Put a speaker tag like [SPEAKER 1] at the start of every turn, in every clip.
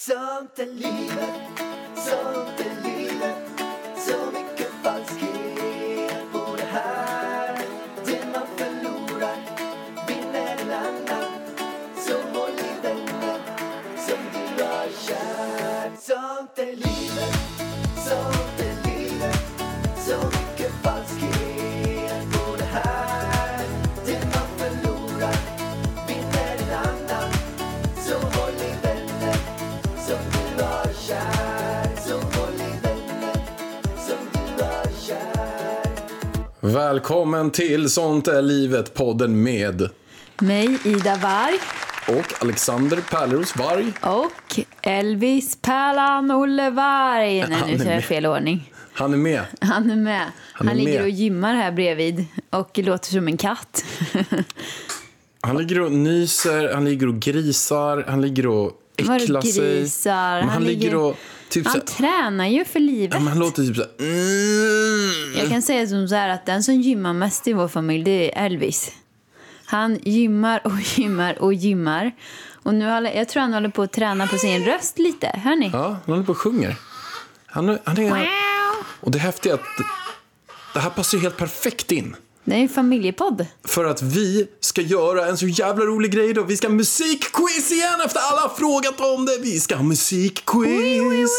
[SPEAKER 1] Sånt är livet, sånt är livet Så mycket falskhet på det här Det man förlorar vinner en annan Så håll i vänner som du har kär Sånt är livet, sånt är livet Så mycket falskhet på det här Det man förlorar vinner en annan Så håll i vänner som du har kär Så håll i vänner som du har kär
[SPEAKER 2] Välkommen till Sånt är livet podden med
[SPEAKER 3] Mig, Ida Warg
[SPEAKER 2] och Alexander Pärleros Varg.
[SPEAKER 3] och Elvis Pärlan Olle Warg. Nej,
[SPEAKER 2] Han är
[SPEAKER 3] nu kör
[SPEAKER 2] med.
[SPEAKER 3] jag fel ordning.
[SPEAKER 2] Han är med.
[SPEAKER 3] Han är med. Han,
[SPEAKER 2] är med.
[SPEAKER 3] ligger och gymmar här bredvid och låter som en katt.
[SPEAKER 2] Han ligger och nyser, han ligger och grisar, han ligger och
[SPEAKER 3] Vadå
[SPEAKER 2] äcklar sig.
[SPEAKER 3] grisar?
[SPEAKER 2] Men han,
[SPEAKER 3] Han
[SPEAKER 2] ligger
[SPEAKER 3] ligger-
[SPEAKER 2] och typ så
[SPEAKER 3] Han
[SPEAKER 2] här,
[SPEAKER 3] tränar ju för livet.
[SPEAKER 2] men han låter typ så här, mm.
[SPEAKER 3] Jag kan säga som så här att den som gymmar mest i vår familj, det är Elvis. Han gymmar och gymmar och gymmar. Och nu håller, jag tror han håller på att träna på sin röst lite. Hör ni?
[SPEAKER 2] Ja, han håller på och sjunger. Han, han är, och det häftiga är att det här passar ju helt perfekt in.
[SPEAKER 3] Det är en familjepodd.
[SPEAKER 2] För att vi ska göra en så jävla rolig grej idag. Vi ska ha musikquiz igen efter alla har frågat om det. Vi ska ha musikquiz.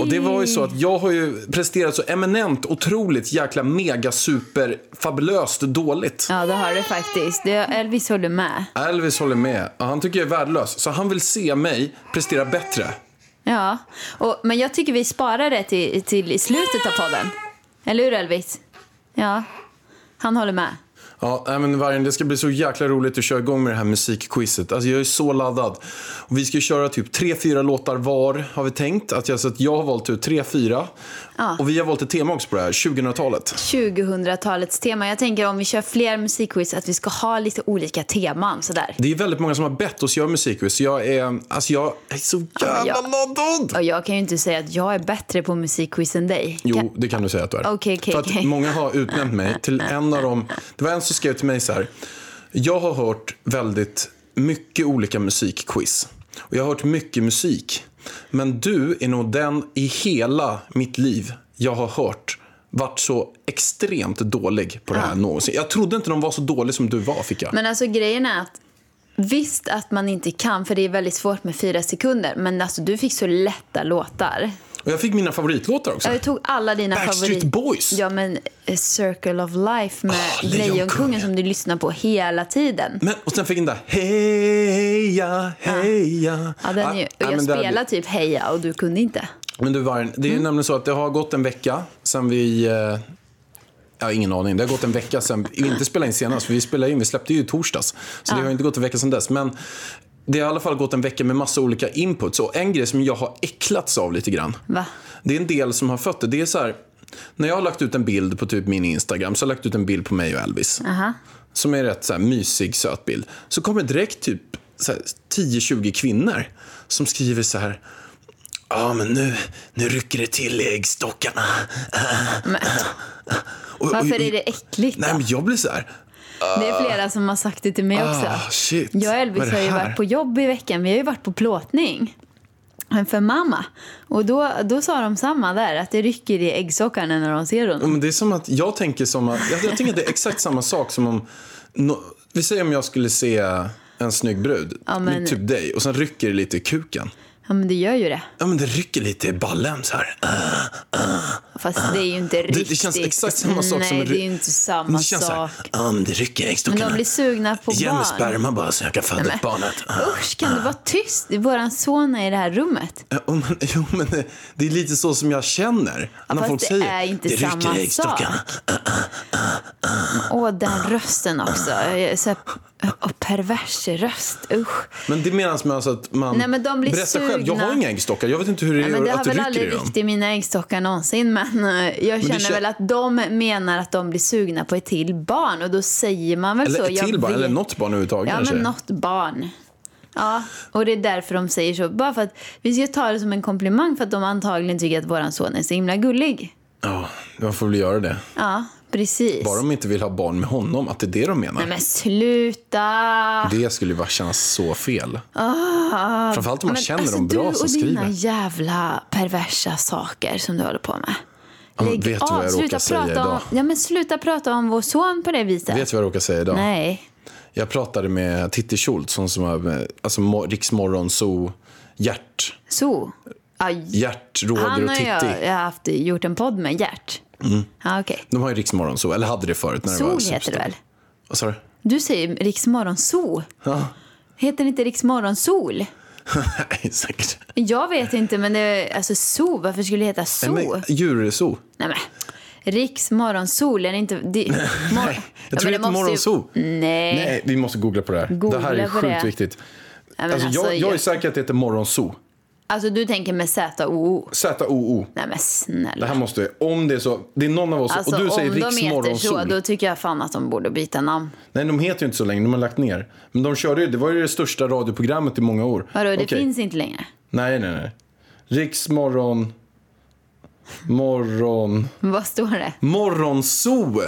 [SPEAKER 2] Och det var ju så att jag har ju presterat så eminent, otroligt, jäkla mega super fabulöst dåligt.
[SPEAKER 3] Ja, det har det faktiskt. Det, Elvis håller med.
[SPEAKER 2] Elvis håller med. Ja, Han tycker jag är värdelös. Så han vill se mig prestera bättre.
[SPEAKER 3] Ja, och, men jag tycker vi sparar det till, till i slutet av podden. Eller hur Elvis? Ja, han håller med.
[SPEAKER 2] Ja, nej, men Vargen, det ska bli så jäkla roligt att köra igång med det här musikquizet. Alltså, jag är så laddad. Och vi ska ju köra typ tre, fyra låtar var, har vi tänkt. Att jag, så att jag har valt ut tre, fyra. Och vi har valt ett tema också på det här, 2000-talet.
[SPEAKER 3] 2000-talets tema. Jag tänker om vi kör fler musikquiz att vi ska ha lite olika teman sådär.
[SPEAKER 2] Det är väldigt många som har bett oss göra musikquiz. så Jag är, alltså, jag är så jävla
[SPEAKER 3] jag-
[SPEAKER 2] laddad!
[SPEAKER 3] Och jag kan ju inte säga att jag är bättre på musikquiz än dig. Kan-
[SPEAKER 2] Jo, det kan du säga att du är.
[SPEAKER 3] Okej, okej,
[SPEAKER 2] För att
[SPEAKER 3] okej.
[SPEAKER 2] många har utnämnt mig till en av dem. Det var en som skrev till mig så här. Jag har hört väldigt mycket olika musikquiz. Och jag har hört mycket musik. Men du är nog den i hela mitt liv jag har hört varit så extremt dålig på det här någonsin. Jag trodde inte de var så dålig som du var, fick jag.
[SPEAKER 3] Ah. Men alltså grejen är att visst att man inte kan för det är väldigt svårt med fyra sekunder. Men alltså du fick så lätta låtar.
[SPEAKER 2] Och jag fick mina favoritlåtar också.
[SPEAKER 3] Ja, Jag tog alla dina
[SPEAKER 2] Backstreet
[SPEAKER 3] favorit...
[SPEAKER 2] Boys.
[SPEAKER 3] Ja, men eh, Circle of Life med
[SPEAKER 2] Ah, Lejonkungen.
[SPEAKER 3] Lejonkungen som du lyssnar på hela tiden.
[SPEAKER 2] Men, och sen fick den där heja, heja.
[SPEAKER 3] Ah. Ja, den är ju, och
[SPEAKER 2] ja,
[SPEAKER 3] jag
[SPEAKER 2] Ah, men där-
[SPEAKER 3] spelade typ Heja och du kunde inte.
[SPEAKER 2] Men du Vargen, det är ju nämligen så att det har gått en vecka sen vi... Eh, jag har ingen aning. Det har gått en vecka sen vi inte spelade in senast. För vi spelade in, vi släppte ju i torsdags. Så det har ju inte gått en vecka sen dess. Men det har i alla fall gått en vecka med massa olika inputs. Och en grej som jag har äcklats av lite grann.
[SPEAKER 3] Va?
[SPEAKER 2] Det är en del som har fött det. Det är så här, när jag har lagt ut en bild på typ min Instagram så har jag lagt ut en bild på mig och Elvis. Som är rätt så här mysig, söt bild. Så kommer det direkt typ så här 10-20 kvinnor som skriver så här. Ja, men nu, nu rycker det till i äggstockarna.
[SPEAKER 3] Men,
[SPEAKER 2] Och- och-
[SPEAKER 3] varför är det äckligt då?
[SPEAKER 2] Nej, men jag blir så här.
[SPEAKER 3] Det är flera som har sagt det till mig också.
[SPEAKER 2] Ah, shit.
[SPEAKER 3] Jag och
[SPEAKER 2] Vad är
[SPEAKER 3] Elvis
[SPEAKER 2] det
[SPEAKER 3] har ju
[SPEAKER 2] här?
[SPEAKER 3] varit på jobb i veckan. Vi har ju varit på plåtning. Men För mamma. Och då, då sa de samma där, att det rycker i äggsockarna när de ser
[SPEAKER 2] Ja,
[SPEAKER 3] honom.
[SPEAKER 2] Men det är som att jag tänker som att, jag, jag tänker att det är exakt samma sak som om, no, vi säger om jag skulle se en snygg brud,
[SPEAKER 3] men-
[SPEAKER 2] typ dig, och sen rycker det lite i kuken.
[SPEAKER 3] Ja, men det gör ju det.
[SPEAKER 2] Ja men det rycker lite i ballen så här.
[SPEAKER 3] Fast det är ju inte
[SPEAKER 2] det
[SPEAKER 3] riktigt...
[SPEAKER 2] känns exakt samma sak
[SPEAKER 3] Nej,
[SPEAKER 2] som en
[SPEAKER 3] det
[SPEAKER 2] ry-
[SPEAKER 3] är ju inte samma
[SPEAKER 2] det känns
[SPEAKER 3] sak.
[SPEAKER 2] Så här, um, det rycker i
[SPEAKER 3] Alltså- Men
[SPEAKER 2] äggstockarna.
[SPEAKER 3] de blir sugna på
[SPEAKER 2] Ge mig
[SPEAKER 3] barn.
[SPEAKER 2] sperma bara så jag kan föda upp barnet. Ah.
[SPEAKER 3] Usch, kan du vara tyst? Det är Våran son är i det här rummet.
[SPEAKER 2] Ja, och men, jo men det, det är lite så som jag känner. när
[SPEAKER 3] fast
[SPEAKER 2] folk
[SPEAKER 3] det
[SPEAKER 2] säger
[SPEAKER 3] är inte
[SPEAKER 2] det rycker
[SPEAKER 3] samma
[SPEAKER 2] i äggstockarna.
[SPEAKER 3] Åh, den rösten också. Så här, och pervers röst, usch.
[SPEAKER 2] Men det menas med alltså att man
[SPEAKER 3] Nej, men de blir
[SPEAKER 2] berättar själv. Jag har
[SPEAKER 3] sugna.
[SPEAKER 2] inga äggstockar. Jag vet inte hur det
[SPEAKER 3] Nej,
[SPEAKER 2] är
[SPEAKER 3] men det
[SPEAKER 2] att
[SPEAKER 3] har
[SPEAKER 2] du
[SPEAKER 3] väl
[SPEAKER 2] rycker i
[SPEAKER 3] aldrig
[SPEAKER 2] dem.
[SPEAKER 3] ryckt i mina äggstockar någonsin, men eh, jag känner
[SPEAKER 2] kän-
[SPEAKER 3] väl att de menar att de blir sugna på ett till barn och då säger man väl så.
[SPEAKER 2] Eller ett
[SPEAKER 3] jag
[SPEAKER 2] till barn,
[SPEAKER 3] vet-
[SPEAKER 2] eller något barn överhuvudtaget
[SPEAKER 3] Ja,
[SPEAKER 2] kanske.
[SPEAKER 3] men något barn. Ja, och det är därför de säger så. Bara för att vi ska ta det som en komplimang för att de antagligen tycker att våran son är så himla gullig.
[SPEAKER 2] Ja, man får väl göra det.
[SPEAKER 3] Ja, Precis.
[SPEAKER 2] Bara de inte vill ha barn med honom, att det är det de menar.
[SPEAKER 3] Nej men sluta!
[SPEAKER 2] Det skulle ju bara kännas så fel.
[SPEAKER 3] Ah.
[SPEAKER 2] Framförallt om man
[SPEAKER 3] Men
[SPEAKER 2] känner
[SPEAKER 3] alltså,
[SPEAKER 2] dem bra
[SPEAKER 3] du
[SPEAKER 2] som
[SPEAKER 3] och dina
[SPEAKER 2] skriver.
[SPEAKER 3] jävla perversa saker som du håller på med.
[SPEAKER 2] Ja, men vet du vad jag råkar
[SPEAKER 3] sluta
[SPEAKER 2] säga
[SPEAKER 3] prata
[SPEAKER 2] idag?
[SPEAKER 3] om, Ja men sluta prata om vår son på det viset.
[SPEAKER 2] Vet du vad jag råkar säga idag?
[SPEAKER 3] Nej.
[SPEAKER 2] Jag pratade med Titti Schultz, hon som är eh, alltså, mo- Riksmorgon, så Gert,
[SPEAKER 3] Så. Aj.
[SPEAKER 2] Gert, Roger
[SPEAKER 3] Han
[SPEAKER 2] och
[SPEAKER 3] har
[SPEAKER 2] Titti.
[SPEAKER 3] jag, eh, jag har haft, gjort en podd med, Gert. Mm. Ja okej.
[SPEAKER 2] De har ju Riksmorgon, så, eller hade det förut. När det var
[SPEAKER 3] Sol heter det väl?
[SPEAKER 2] Vad sa du?
[SPEAKER 3] Du säger Riksmorgonzoo.
[SPEAKER 2] Ja,
[SPEAKER 3] Heter det inte Riksmorgonsol?
[SPEAKER 2] nej, säkert.
[SPEAKER 3] Jag vet inte, men det, alltså zoo, varför skulle det heta zoo? Eh.
[SPEAKER 2] Nej, Eh, men djurso.
[SPEAKER 3] Nej men. Riks morgonsol, är det inte... Det, mor- Nej,
[SPEAKER 2] jag tror det heter morgonzoo.
[SPEAKER 3] Nej.
[SPEAKER 2] Nej, vi måste googla på det här.
[SPEAKER 3] Googla
[SPEAKER 2] det här är
[SPEAKER 3] på
[SPEAKER 2] sjukt
[SPEAKER 3] det.
[SPEAKER 2] viktigt.
[SPEAKER 3] men
[SPEAKER 2] alltså,
[SPEAKER 3] alltså,
[SPEAKER 2] jag, jag är
[SPEAKER 3] jag-
[SPEAKER 2] säker att det heter morgonso.
[SPEAKER 3] Alltså du tänker med Z-O-O.
[SPEAKER 2] Z-O-O.
[SPEAKER 3] Nej men
[SPEAKER 2] Det
[SPEAKER 3] snälla.
[SPEAKER 2] här måste, om det är så, det är någon av oss,
[SPEAKER 3] Alltså,
[SPEAKER 2] och du säger
[SPEAKER 3] om de heter så,
[SPEAKER 2] riksmorgonsol.
[SPEAKER 3] då tycker jag fan att de borde byta namn.
[SPEAKER 2] Nej, de heter ju inte så länge, de har lagt ner. Men de körde ju, det var ju det största radioprogrammet i många år.
[SPEAKER 3] Vadå, det
[SPEAKER 2] Okej.
[SPEAKER 3] finns inte längre?
[SPEAKER 2] Nej, nej, nej. Riksmorgon... Morgon...
[SPEAKER 3] Vad står det?
[SPEAKER 2] Morgonso!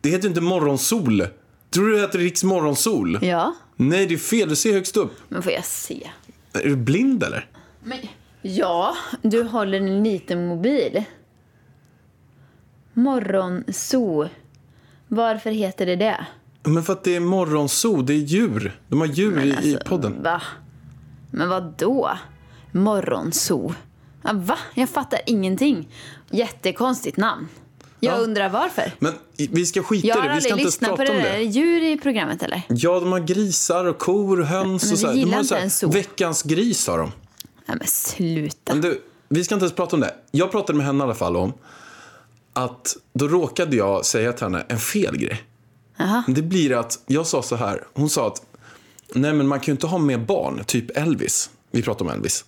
[SPEAKER 2] Det heter ju inte morgonsol. Tror du det heter riksmorgonsol?
[SPEAKER 3] Ja,
[SPEAKER 2] Nej, det är fel. Du ser högst upp.
[SPEAKER 3] men får jag se?
[SPEAKER 2] Är du blind eller?
[SPEAKER 3] Men, ja, du håller en liten mobil. Morgonzoo. Varför heter det det?
[SPEAKER 2] Men för att det är morgonso, det är djur. De har djur i, i
[SPEAKER 3] Alltså,
[SPEAKER 2] podden.
[SPEAKER 3] Va? Men vad då? Morgonzoo? Ja, Va? Jag fattar ingenting. Jättekonstigt namn. Jag
[SPEAKER 2] Ja.
[SPEAKER 3] undrar varför.
[SPEAKER 2] Men i- vi ska skita
[SPEAKER 3] Jag
[SPEAKER 2] i
[SPEAKER 3] har
[SPEAKER 2] det, vi ska
[SPEAKER 3] aldrig
[SPEAKER 2] inte ens
[SPEAKER 3] lyssnat
[SPEAKER 2] prata
[SPEAKER 3] på
[SPEAKER 2] om
[SPEAKER 3] det
[SPEAKER 2] det.
[SPEAKER 3] där. Är det djur i programmet eller?
[SPEAKER 2] Ja, de har grisar och kor, höns
[SPEAKER 3] Men
[SPEAKER 2] och
[SPEAKER 3] vi
[SPEAKER 2] så här. De
[SPEAKER 3] gillar
[SPEAKER 2] har
[SPEAKER 3] inte
[SPEAKER 2] så här,
[SPEAKER 3] ens zoo.
[SPEAKER 2] veckans gris har de.
[SPEAKER 3] Nej men sluta.
[SPEAKER 2] Men du, vi ska inte ens prata om det. Jag pratade med henne i alla fall om att då råkade jag säga till henne en fel grej.
[SPEAKER 3] Jaha.
[SPEAKER 2] Det blir att jag sa så här. Hon sa att nej men man kan ju inte ha med barn, typ Elvis. Vi pratar om Elvis.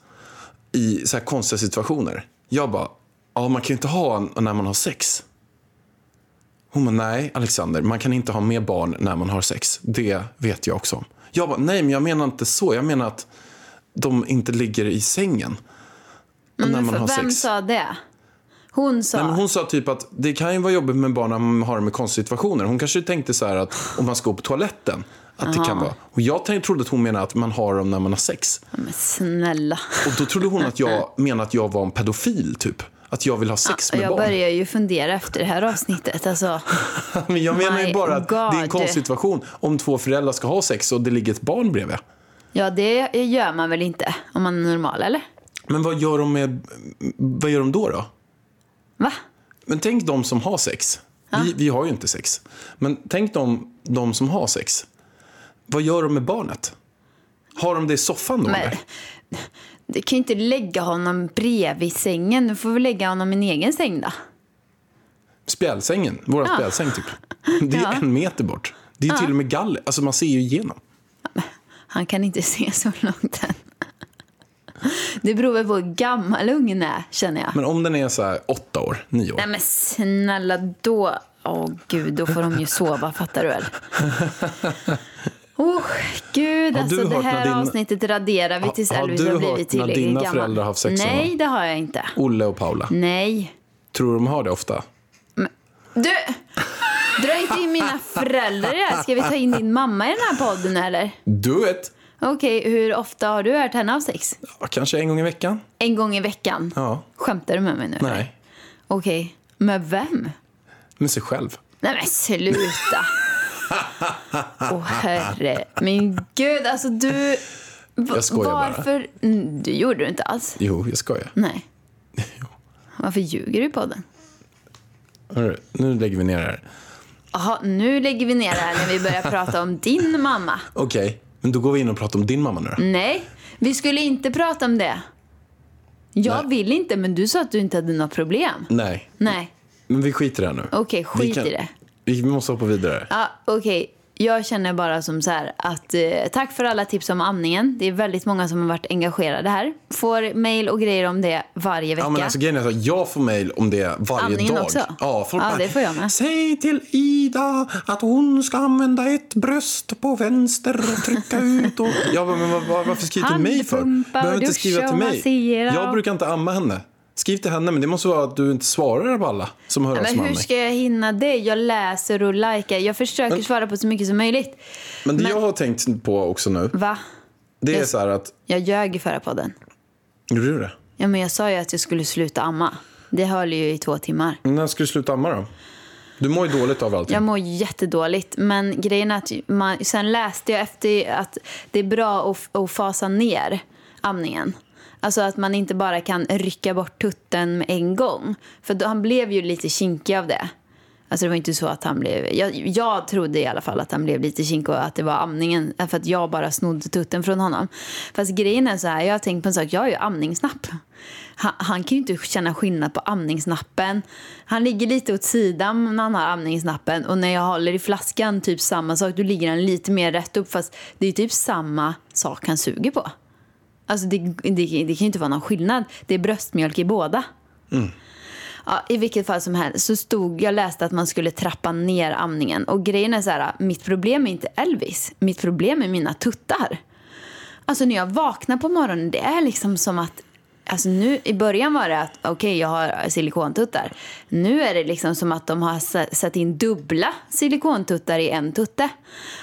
[SPEAKER 2] I så här konstiga situationer. Jag bara, ja man kan ju inte ha en när man har sex. Hon bara, nej Alexander, man kan inte ha med barn när man har sex. Det vet jag också om. Jag bara, nej men jag menar inte så. Jag menar att de inte ligger i sängen. när man
[SPEAKER 3] För-
[SPEAKER 2] har
[SPEAKER 3] Vem
[SPEAKER 2] sex.
[SPEAKER 3] sa det? Hon sa.
[SPEAKER 2] Nej, men hon sa typ att det kan ju vara jobbigt med barn när man har det med konstiga situationer. Hon kanske tänkte så här att om man ska gå på toaletten. Att det kan vara. Och jag tänk- trodde att hon menade att man har dem när man har sex.
[SPEAKER 3] Nej, Men snälla.
[SPEAKER 2] Och då trodde hon att jag menade att jag var en pedofil typ. Att jag vill ha sex med
[SPEAKER 3] Jag
[SPEAKER 2] barn.
[SPEAKER 3] börjar ju fundera efter det här avsnittet. Alltså,
[SPEAKER 2] Men jag menar ju
[SPEAKER 3] My
[SPEAKER 2] bara att det är en
[SPEAKER 3] God.
[SPEAKER 2] konstig situation om två föräldrar ska ha sex och det ligger ett barn bredvid.
[SPEAKER 3] ja, det gör man väl inte om man är normal, eller?
[SPEAKER 2] Men vad gör de, med, vad gör de då? då?
[SPEAKER 3] Va?
[SPEAKER 2] Men tänk de som har sex. Vi, vi har ju inte sex. Men tänk de, de som har sex. Vad gör de med barnet? Har de det i soffan då?
[SPEAKER 3] Men,
[SPEAKER 2] eller?
[SPEAKER 3] du kan ju inte lägga honom bredvid sängen. Du får väl lägga honom i en egen säng då.
[SPEAKER 2] Spjälsängen, våran
[SPEAKER 3] Ja.
[SPEAKER 2] spjälsäng typ. Det är
[SPEAKER 3] Ja.
[SPEAKER 2] en meter bort. Det är till och med galler. Alltså man ser ju igenom.
[SPEAKER 3] Han kan inte se så långt än. Det beror väl på hur gammal ungen är, känner jag.
[SPEAKER 2] Men om den är så här åtta år, nio år.
[SPEAKER 3] Nej men snälla, då... Åh gud, då får de ju sova, fattar du väl? Oh, gud, alltså
[SPEAKER 2] du
[SPEAKER 3] det
[SPEAKER 2] hört när
[SPEAKER 3] här
[SPEAKER 2] din-
[SPEAKER 3] avsnittet raderar vi
[SPEAKER 2] Ha-
[SPEAKER 3] tills
[SPEAKER 2] har
[SPEAKER 3] Elvis
[SPEAKER 2] du
[SPEAKER 3] har
[SPEAKER 2] hört när
[SPEAKER 3] blivit tillräckligt
[SPEAKER 2] dina
[SPEAKER 3] gammal.
[SPEAKER 2] föräldrar haft sex med
[SPEAKER 3] Nej,
[SPEAKER 2] honom?
[SPEAKER 3] det har jag inte.
[SPEAKER 2] Olle och Paula.
[SPEAKER 3] Mm. Nej.
[SPEAKER 2] Tror du de har det ofta?
[SPEAKER 3] Du! Dra inte in mina föräldrar i det här. Ska vi ta in din mamma i den här podden eller?
[SPEAKER 2] Du vet.
[SPEAKER 3] Okej, hur ofta har du hört henne ha sex?
[SPEAKER 2] Ja, kanske en gång i veckan.
[SPEAKER 3] En gång i veckan?
[SPEAKER 2] Ja.
[SPEAKER 3] Skämtar du med mig nu? eller?
[SPEAKER 2] Nej.
[SPEAKER 3] Okej, med vem?
[SPEAKER 2] Med sig själv.
[SPEAKER 3] Nej men sluta! Åh herre min gud, alltså du... Va-
[SPEAKER 2] Jag skojar bara.
[SPEAKER 3] varför? Mm, Du gjorde det inte alls.
[SPEAKER 2] Jo, jag skojar.
[SPEAKER 3] Nej. Varför ljuger du i podden?
[SPEAKER 2] Hörru, Nu lägger vi ner det här.
[SPEAKER 3] Jaha, nu lägger vi ner det här när vi börjar prata om din mamma.
[SPEAKER 2] Okej, men då går vi in och pratar om din mamma nu då.
[SPEAKER 3] Nej, vi skulle inte prata om det. Jag
[SPEAKER 2] Nej.
[SPEAKER 3] vill inte, men du sa att du inte hade något problem.
[SPEAKER 2] Nej,
[SPEAKER 3] Nej,
[SPEAKER 2] men vi skiter i det här nu.
[SPEAKER 3] okej,
[SPEAKER 2] Vi
[SPEAKER 3] skit
[SPEAKER 2] kan-
[SPEAKER 3] i det.
[SPEAKER 2] Vi måste hoppa vidare.
[SPEAKER 3] Ja, okej. Jag känner bara som så här att eh, tack för alla tips om amningen. Det är väldigt många som har varit engagerade här. Får mejl och grejer om det varje vecka.
[SPEAKER 2] Ja, men alltså, grejen är så att jag får mejl om det varje
[SPEAKER 3] Andningen
[SPEAKER 2] dag.
[SPEAKER 3] också?
[SPEAKER 2] Ja, folk
[SPEAKER 3] Ja,
[SPEAKER 2] bara,
[SPEAKER 3] det får jag med.
[SPEAKER 2] Säg till Ida att hon ska använda ett bröst på vänster och trycka ut. Och... Jag bara, men var, var, varför skriver du till mig för?
[SPEAKER 3] Handpumpa och
[SPEAKER 2] behöver inte skriva
[SPEAKER 3] duscha
[SPEAKER 2] till
[SPEAKER 3] och
[SPEAKER 2] mig.
[SPEAKER 3] massera
[SPEAKER 2] Jag
[SPEAKER 3] och-
[SPEAKER 2] brukar inte amma henne. Skriv till henne, men det måste vara att du inte svarar på alla som hör av sig
[SPEAKER 3] Men
[SPEAKER 2] med
[SPEAKER 3] hur
[SPEAKER 2] mig.
[SPEAKER 3] ska jag hinna det? Jag läser och likar. Jag försöker svara på så mycket som möjligt.
[SPEAKER 2] Men det jag har tänkt på också nu,
[SPEAKER 3] Va?
[SPEAKER 2] det är
[SPEAKER 3] Jag-
[SPEAKER 2] så här att...
[SPEAKER 3] Jag ljög i förra podden.
[SPEAKER 2] Gjorde du det?
[SPEAKER 3] Ja, men jag sa ju att jag skulle sluta amma. Det höll ju i två timmar.
[SPEAKER 2] När ska du sluta amma då? Du mår ju dåligt av allting.
[SPEAKER 3] Jag mår jättedåligt, men grejen är att man, sen läste jag efter att det är bra att, f- att fasa ner amningen. Alltså att man inte bara kan rycka bort tutten med en gång. För då, han blev ju lite kinkig av det. Alltså det var inte så att han blev... Jag, jag trodde i alla fall att han blev lite kinkig och att det var amningen. För att jag bara snodde tutten från honom. Fast grejen är så här, jag har tänkt på en sak. Jag har ju amningsnapp. Han, han kan ju inte känna skillnad på amningsnappen. Han ligger lite åt sidan när han har amningsnappen. Och när jag håller i flaskan, typ samma sak. Då ligger han lite mer rätt upp. Fast det är typ samma sak han suger på. Alltså det, det, det kan ju inte vara någon skillnad. Det är bröstmjölk i båda. Ja, I vilket fall som helst så stod, jag läste att man skulle trappa ner amningen. Och grejen är så här, mitt problem är inte Elvis. Mitt problem är mina tuttar. Alltså när jag vaknar på morgonen, det är liksom som att Alltså nu, I början var det att okej, jag har silikontuttar. Nu är det liksom som att de har sa- satt in dubbla silikontuttar i en tutte.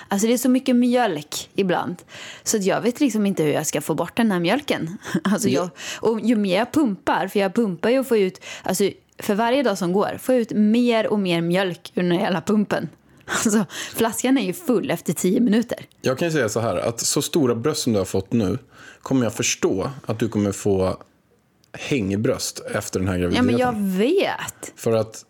[SPEAKER 3] Alltså det är så mycket mjölk ibland. Så att jag vet liksom inte hur jag ska få bort den här mjölken. Alltså jag, och ju mer jag pumpar, för jag pumpar ju och får ut, alltså för varje dag som går, får jag ut mer och mer mjölk ur den här jävla pumpen. Alltså flaskan är ju full efter tio minuter.
[SPEAKER 2] Jag kan ju säga så här, att så stora bröst som du har fått nu kommer jag förstå att du kommer få hängbröst efter den här
[SPEAKER 3] Ja
[SPEAKER 2] graviditeten.
[SPEAKER 3] men jag vet.
[SPEAKER 2] För att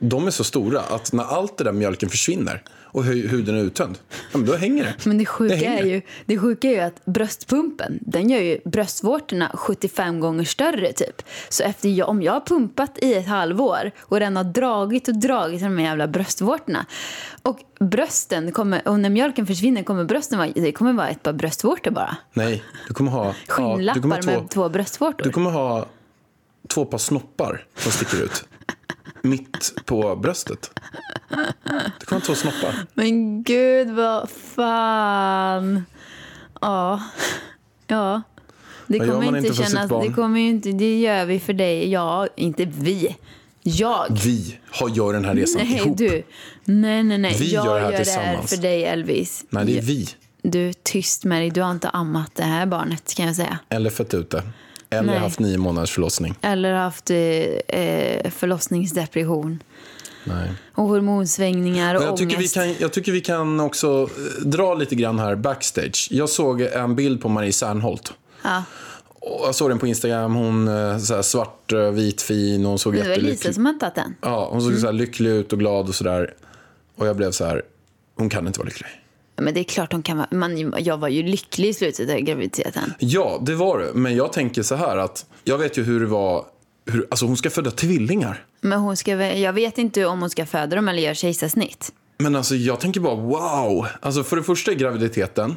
[SPEAKER 2] de är så stora att när allt det där mjölken försvinner och hu- huden är uttömd, ja, men då hänger det.
[SPEAKER 3] Men det sjuka,
[SPEAKER 2] hänger.
[SPEAKER 3] är ju, det sjuka är ju att bröstpumpen, den gör ju bröstvårtorna 75 gånger större typ. Så efter jag, om jag har pumpat i ett halvår och den har dragit och dragit i de här jävla bröstvårtorna och brösten kommer, och när mjölken försvinner kommer brösten vara, det kommer vara ett par bröstvårtor bara.
[SPEAKER 2] Nej, du kommer ha... ja, du
[SPEAKER 3] Skinnlappar
[SPEAKER 2] kommer ha två,
[SPEAKER 3] med två bröstvårtor.
[SPEAKER 2] Du kommer ha två par snoppar som sticker ut. mitt på bröstet. Du kommer ha två snoppar.
[SPEAKER 3] Men gud vad fan. Ja. Ja. Det
[SPEAKER 2] Vad gör
[SPEAKER 3] kommer
[SPEAKER 2] man
[SPEAKER 3] inte,
[SPEAKER 2] inte för sitt
[SPEAKER 3] kännas, det
[SPEAKER 2] barn?
[SPEAKER 3] kommer ju inte, det gör vi för dig. Ja, inte vi. Jag.
[SPEAKER 2] Vi har, gör den här resan
[SPEAKER 3] Nej,
[SPEAKER 2] ihop.
[SPEAKER 3] du. Nej, nej, nej.
[SPEAKER 2] Vi
[SPEAKER 3] jag
[SPEAKER 2] gör det här
[SPEAKER 3] här
[SPEAKER 2] tillsammans.
[SPEAKER 3] för dig, Elvis.
[SPEAKER 2] Nej, det är vi.
[SPEAKER 3] Du, tyst med dig. Du har inte ammat det här barnet, kan jag säga.
[SPEAKER 2] Eller fött ut det. Eller
[SPEAKER 3] Nej.
[SPEAKER 2] haft nio månaders förlossning.
[SPEAKER 3] Eller haft eh, eh, förlossningsdepression
[SPEAKER 2] Nej.
[SPEAKER 3] och hormonsvängningar och
[SPEAKER 2] Men jag, tycker vi
[SPEAKER 3] ångest.
[SPEAKER 2] kan, jag tycker vi kan också eh, dra lite grann här backstage. Jag såg en bild på Marie Serneholt.
[SPEAKER 3] Ja.
[SPEAKER 2] Och Jag såg den på Instagram. Hon eh, så här, svart, eh, vit, fin. Hon såg
[SPEAKER 3] Det var Mm. Lisa
[SPEAKER 2] jättelycklig
[SPEAKER 3] som hade tagit den.
[SPEAKER 2] Ja, hon såg så här lycklig ut och glad och sådär. Och jag blev så här, hon kan inte vara lycklig.
[SPEAKER 3] Ja, Men det är klart hon kan vara. Man, jag var ju lycklig i slutet av graviditeten.
[SPEAKER 2] Ja, det var det. Men jag tänker så här att, jag vet ju hur det var, hur, alltså hon ska föda tvillingar.
[SPEAKER 3] Men hon ska, väl- jag vet inte om hon ska föda dem eller göra kejsarsnitt.
[SPEAKER 2] Men alltså jag tänker bara wow. Alltså för det första är graviditeten,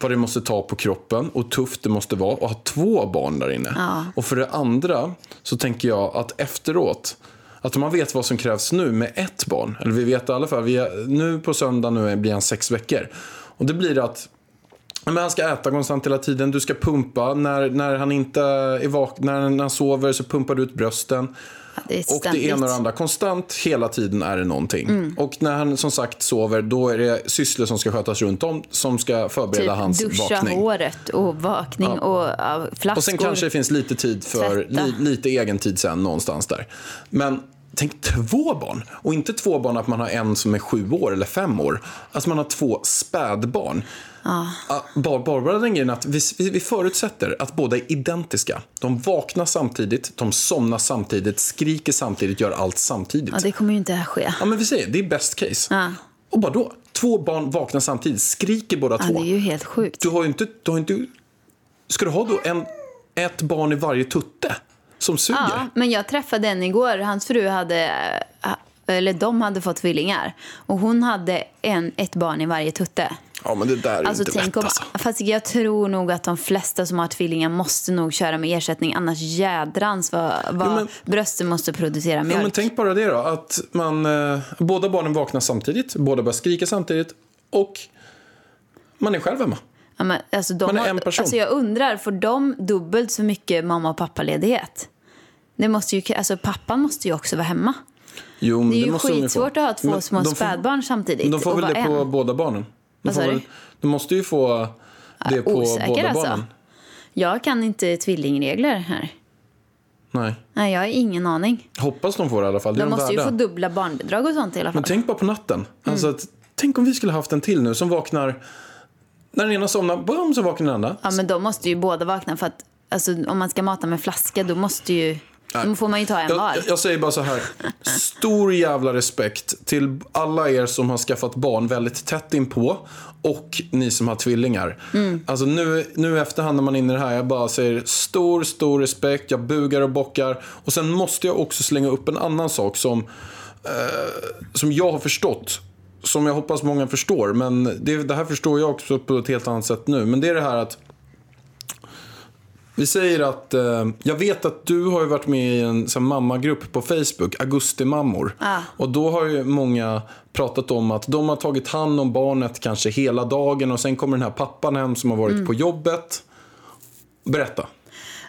[SPEAKER 2] vad det måste ta på kroppen och hur tufft det måste vara att ha två barn där inne. Och för det andra så tänker jag att efteråt, att om man vet vad som krävs nu med ett barn, eller vi vet i alla fall, vi är, nu på söndag nu blir han sex veckor. Och det blir att Men han ska äta konstant hela tiden, du ska pumpa. När, när han inte är vak- när, när han sover så pumpar du ut brösten.
[SPEAKER 3] det är
[SPEAKER 2] och det
[SPEAKER 3] ständigt. Mm.
[SPEAKER 2] ena och det andra. Konstant hela tiden är det någonting. Och när han som sagt sover då är det sysslor som ska skötas runt om som ska förbereda hans
[SPEAKER 3] typ duscha
[SPEAKER 2] vakning.
[SPEAKER 3] håret och vakning och ja, flaskor.
[SPEAKER 2] Och sen kanske det finns lite tid för
[SPEAKER 3] Tvätta.
[SPEAKER 2] li, lite egen tid sen någonstans där. Men tänk två barn. Och inte två barn att man har en som är sju år eller fem år. Alltså man har två spädbarn. Ah, Bar- Barbara den grejen att vi, vi, vi förutsätter att båda är identiska. De vaknar samtidigt, de somnar samtidigt, skriker samtidigt, gör allt samtidigt.
[SPEAKER 3] Ja, det kommer ju inte att ske.
[SPEAKER 2] Ja, men vi säger det är best case.
[SPEAKER 3] Ja.
[SPEAKER 2] Och bara då? Två barn vaknar samtidigt, skriker båda
[SPEAKER 3] Ja,
[SPEAKER 2] två.
[SPEAKER 3] det är ju helt sjukt.
[SPEAKER 2] Du har ju inte, du har inte... Ska du ha då en, ett barn i varje tutte som suger?
[SPEAKER 3] Ja, men jag träffade en igår. Hans fru hade, eh, eller de hade fått tvillingar. Och hon hade en, ett barn i varje tutte.
[SPEAKER 2] Ja, men det där är
[SPEAKER 3] Alltså,
[SPEAKER 2] inte
[SPEAKER 3] tänk
[SPEAKER 2] rätt
[SPEAKER 3] om,
[SPEAKER 2] alltså.
[SPEAKER 3] fast jag tror nog att de flesta som har tvillingar måste nog köra med ersättning. Annars jädrans vad, vad
[SPEAKER 2] Jo, men-
[SPEAKER 3] brösten måste producera
[SPEAKER 2] Ja,
[SPEAKER 3] mjölk.
[SPEAKER 2] men tänk bara det då, att man, eh, båda barnen vaknar samtidigt, båda börjar skrika samtidigt och man är själv hemma.
[SPEAKER 3] Ja, men, alltså, de
[SPEAKER 2] Man är
[SPEAKER 3] har,
[SPEAKER 2] en person.
[SPEAKER 3] Alltså, jag undrar, får de dubbelt så mycket mamma och pappaledighet? Det måste ju, alltså, pappan måste ju också vara hemma.
[SPEAKER 2] Jo, men
[SPEAKER 3] Det är ju
[SPEAKER 2] måste de få.
[SPEAKER 3] skitsvårt att ha två
[SPEAKER 2] Men
[SPEAKER 3] små
[SPEAKER 2] de får-
[SPEAKER 3] spädbarn samtidigt.
[SPEAKER 2] De får
[SPEAKER 3] och
[SPEAKER 2] väl
[SPEAKER 3] vara
[SPEAKER 2] det på
[SPEAKER 3] en.
[SPEAKER 2] båda barnen? De,
[SPEAKER 3] Vad
[SPEAKER 2] får
[SPEAKER 3] sa du?
[SPEAKER 2] väl, de måste ju få det på
[SPEAKER 3] Osäker
[SPEAKER 2] båda
[SPEAKER 3] alltså.
[SPEAKER 2] barnen.
[SPEAKER 3] Jag kan inte tvillingregler här.
[SPEAKER 2] Nej.
[SPEAKER 3] Nej, jag har ingen aning.
[SPEAKER 2] Hoppas de får i alla fall. Det
[SPEAKER 3] De
[SPEAKER 2] är de
[SPEAKER 3] måste ju
[SPEAKER 2] värda.
[SPEAKER 3] få Mm. dubbla barnbidrag och sånt i alla fall.
[SPEAKER 2] Men tänk bara på natten. Alltså, att, tänk om vi skulle haft en till nu som vaknar. När den ena somnar, bam, så vaknar den andra.
[SPEAKER 3] Ja, men de måste ju båda vakna för att alltså, om man ska mata med flaska då måste ju... Då får man ju ta en var.
[SPEAKER 2] Jag, jag säger bara så här. Stor jävla respekt till alla er som har skaffat barn väldigt tätt inpå och ni som har tvillingar.
[SPEAKER 3] Mm.
[SPEAKER 2] Alltså nu, nu i efterhand när man är inne i det här, jag bara säger stor, stor respekt, jag bugar och bockar. Och sen måste jag också slänga upp en annan sak som, eh, som jag har förstått. Som jag hoppas många förstår, men det, det här förstår jag också på ett helt annat sätt nu. Men det är det här att vi säger att, eh, jag vet att du har ju varit med i en sån här mammagrupp på Facebook, Augustimammor. Och då har ju många pratat om att de har tagit hand om barnet kanske hela dagen och sen kommer den här pappan hem som har varit på jobbet. Berätta.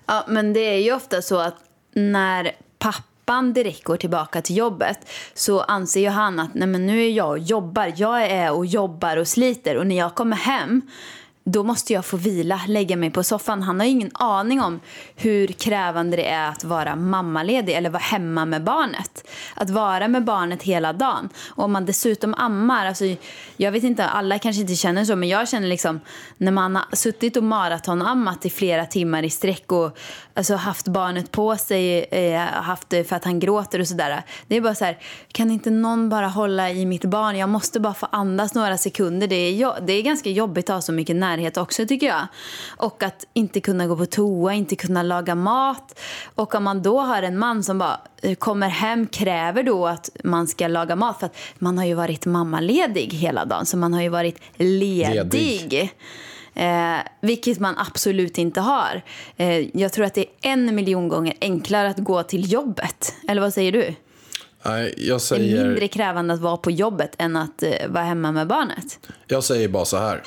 [SPEAKER 3] Ja, men det är ju ofta så att när pappan direkt går tillbaka till jobbet så anser ju han att Nej, men nu är jag och jobbar. Jag är och jobbar och sliter och när jag kommer hem då måste jag få vila, lägga mig på soffan. Han har ju ingen aning om hur krävande det är att vara mammaledig eller vara hemma med barnet. Att vara med barnet hela dagen. Och om man dessutom ammar, alltså, jag vet inte, alla kanske inte känner så, men jag känner liksom när man har suttit och maratonammat i flera timmar i sträck och alltså, haft barnet på sig, eh, haft det för att han gråter och sådär. Det är bara så här, kan inte någon bara hålla i mitt barn? Jag måste bara få andas några sekunder. Det är, jo- det är ganska jobbigt att ha så mycket närhet också tycker jag. Och att inte kunna gå på toa, inte kunna laga mat. Och om man då har en man som bara eh, kommer hem kräver då att man ska laga mat för att man har ju varit mammaledig hela dagen så man har ju varit
[SPEAKER 2] Ledig.
[SPEAKER 3] ledig ledig. Eh, vilket man absolut inte har. Eh, jag tror att det är en miljon gånger enklare att gå till jobbet. Eller vad säger du?
[SPEAKER 2] Nej, jag
[SPEAKER 3] Det är mindre
[SPEAKER 2] säger,
[SPEAKER 3] krävande att vara på jobbet än att eh, vara hemma med barnet.
[SPEAKER 2] jag säger bara så här.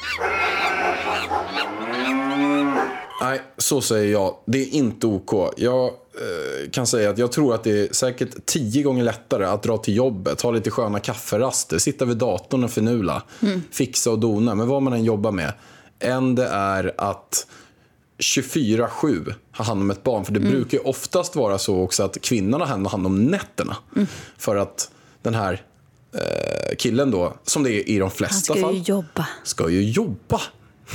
[SPEAKER 2] Nej, så säger jag. Det är inte OK. Jag eh, kan säga att jag tror att det är säkert tio gånger lättare att dra till jobbet, ha lite sköna kafferaster, sitta vid datorn och finula,
[SPEAKER 3] Mm.
[SPEAKER 2] fixa och dona med vad man än jobbar med, än det är att 24-7 ha hand om ett barn. För det
[SPEAKER 3] Mm.
[SPEAKER 2] brukar ju oftast vara så också att kvinnan har hand om nätterna.
[SPEAKER 3] Mm.
[SPEAKER 2] För att den här eh, killen då, som det är i de
[SPEAKER 3] Han
[SPEAKER 2] flesta
[SPEAKER 3] ska ju
[SPEAKER 2] fall,
[SPEAKER 3] jobba.
[SPEAKER 2] ska ju jobba.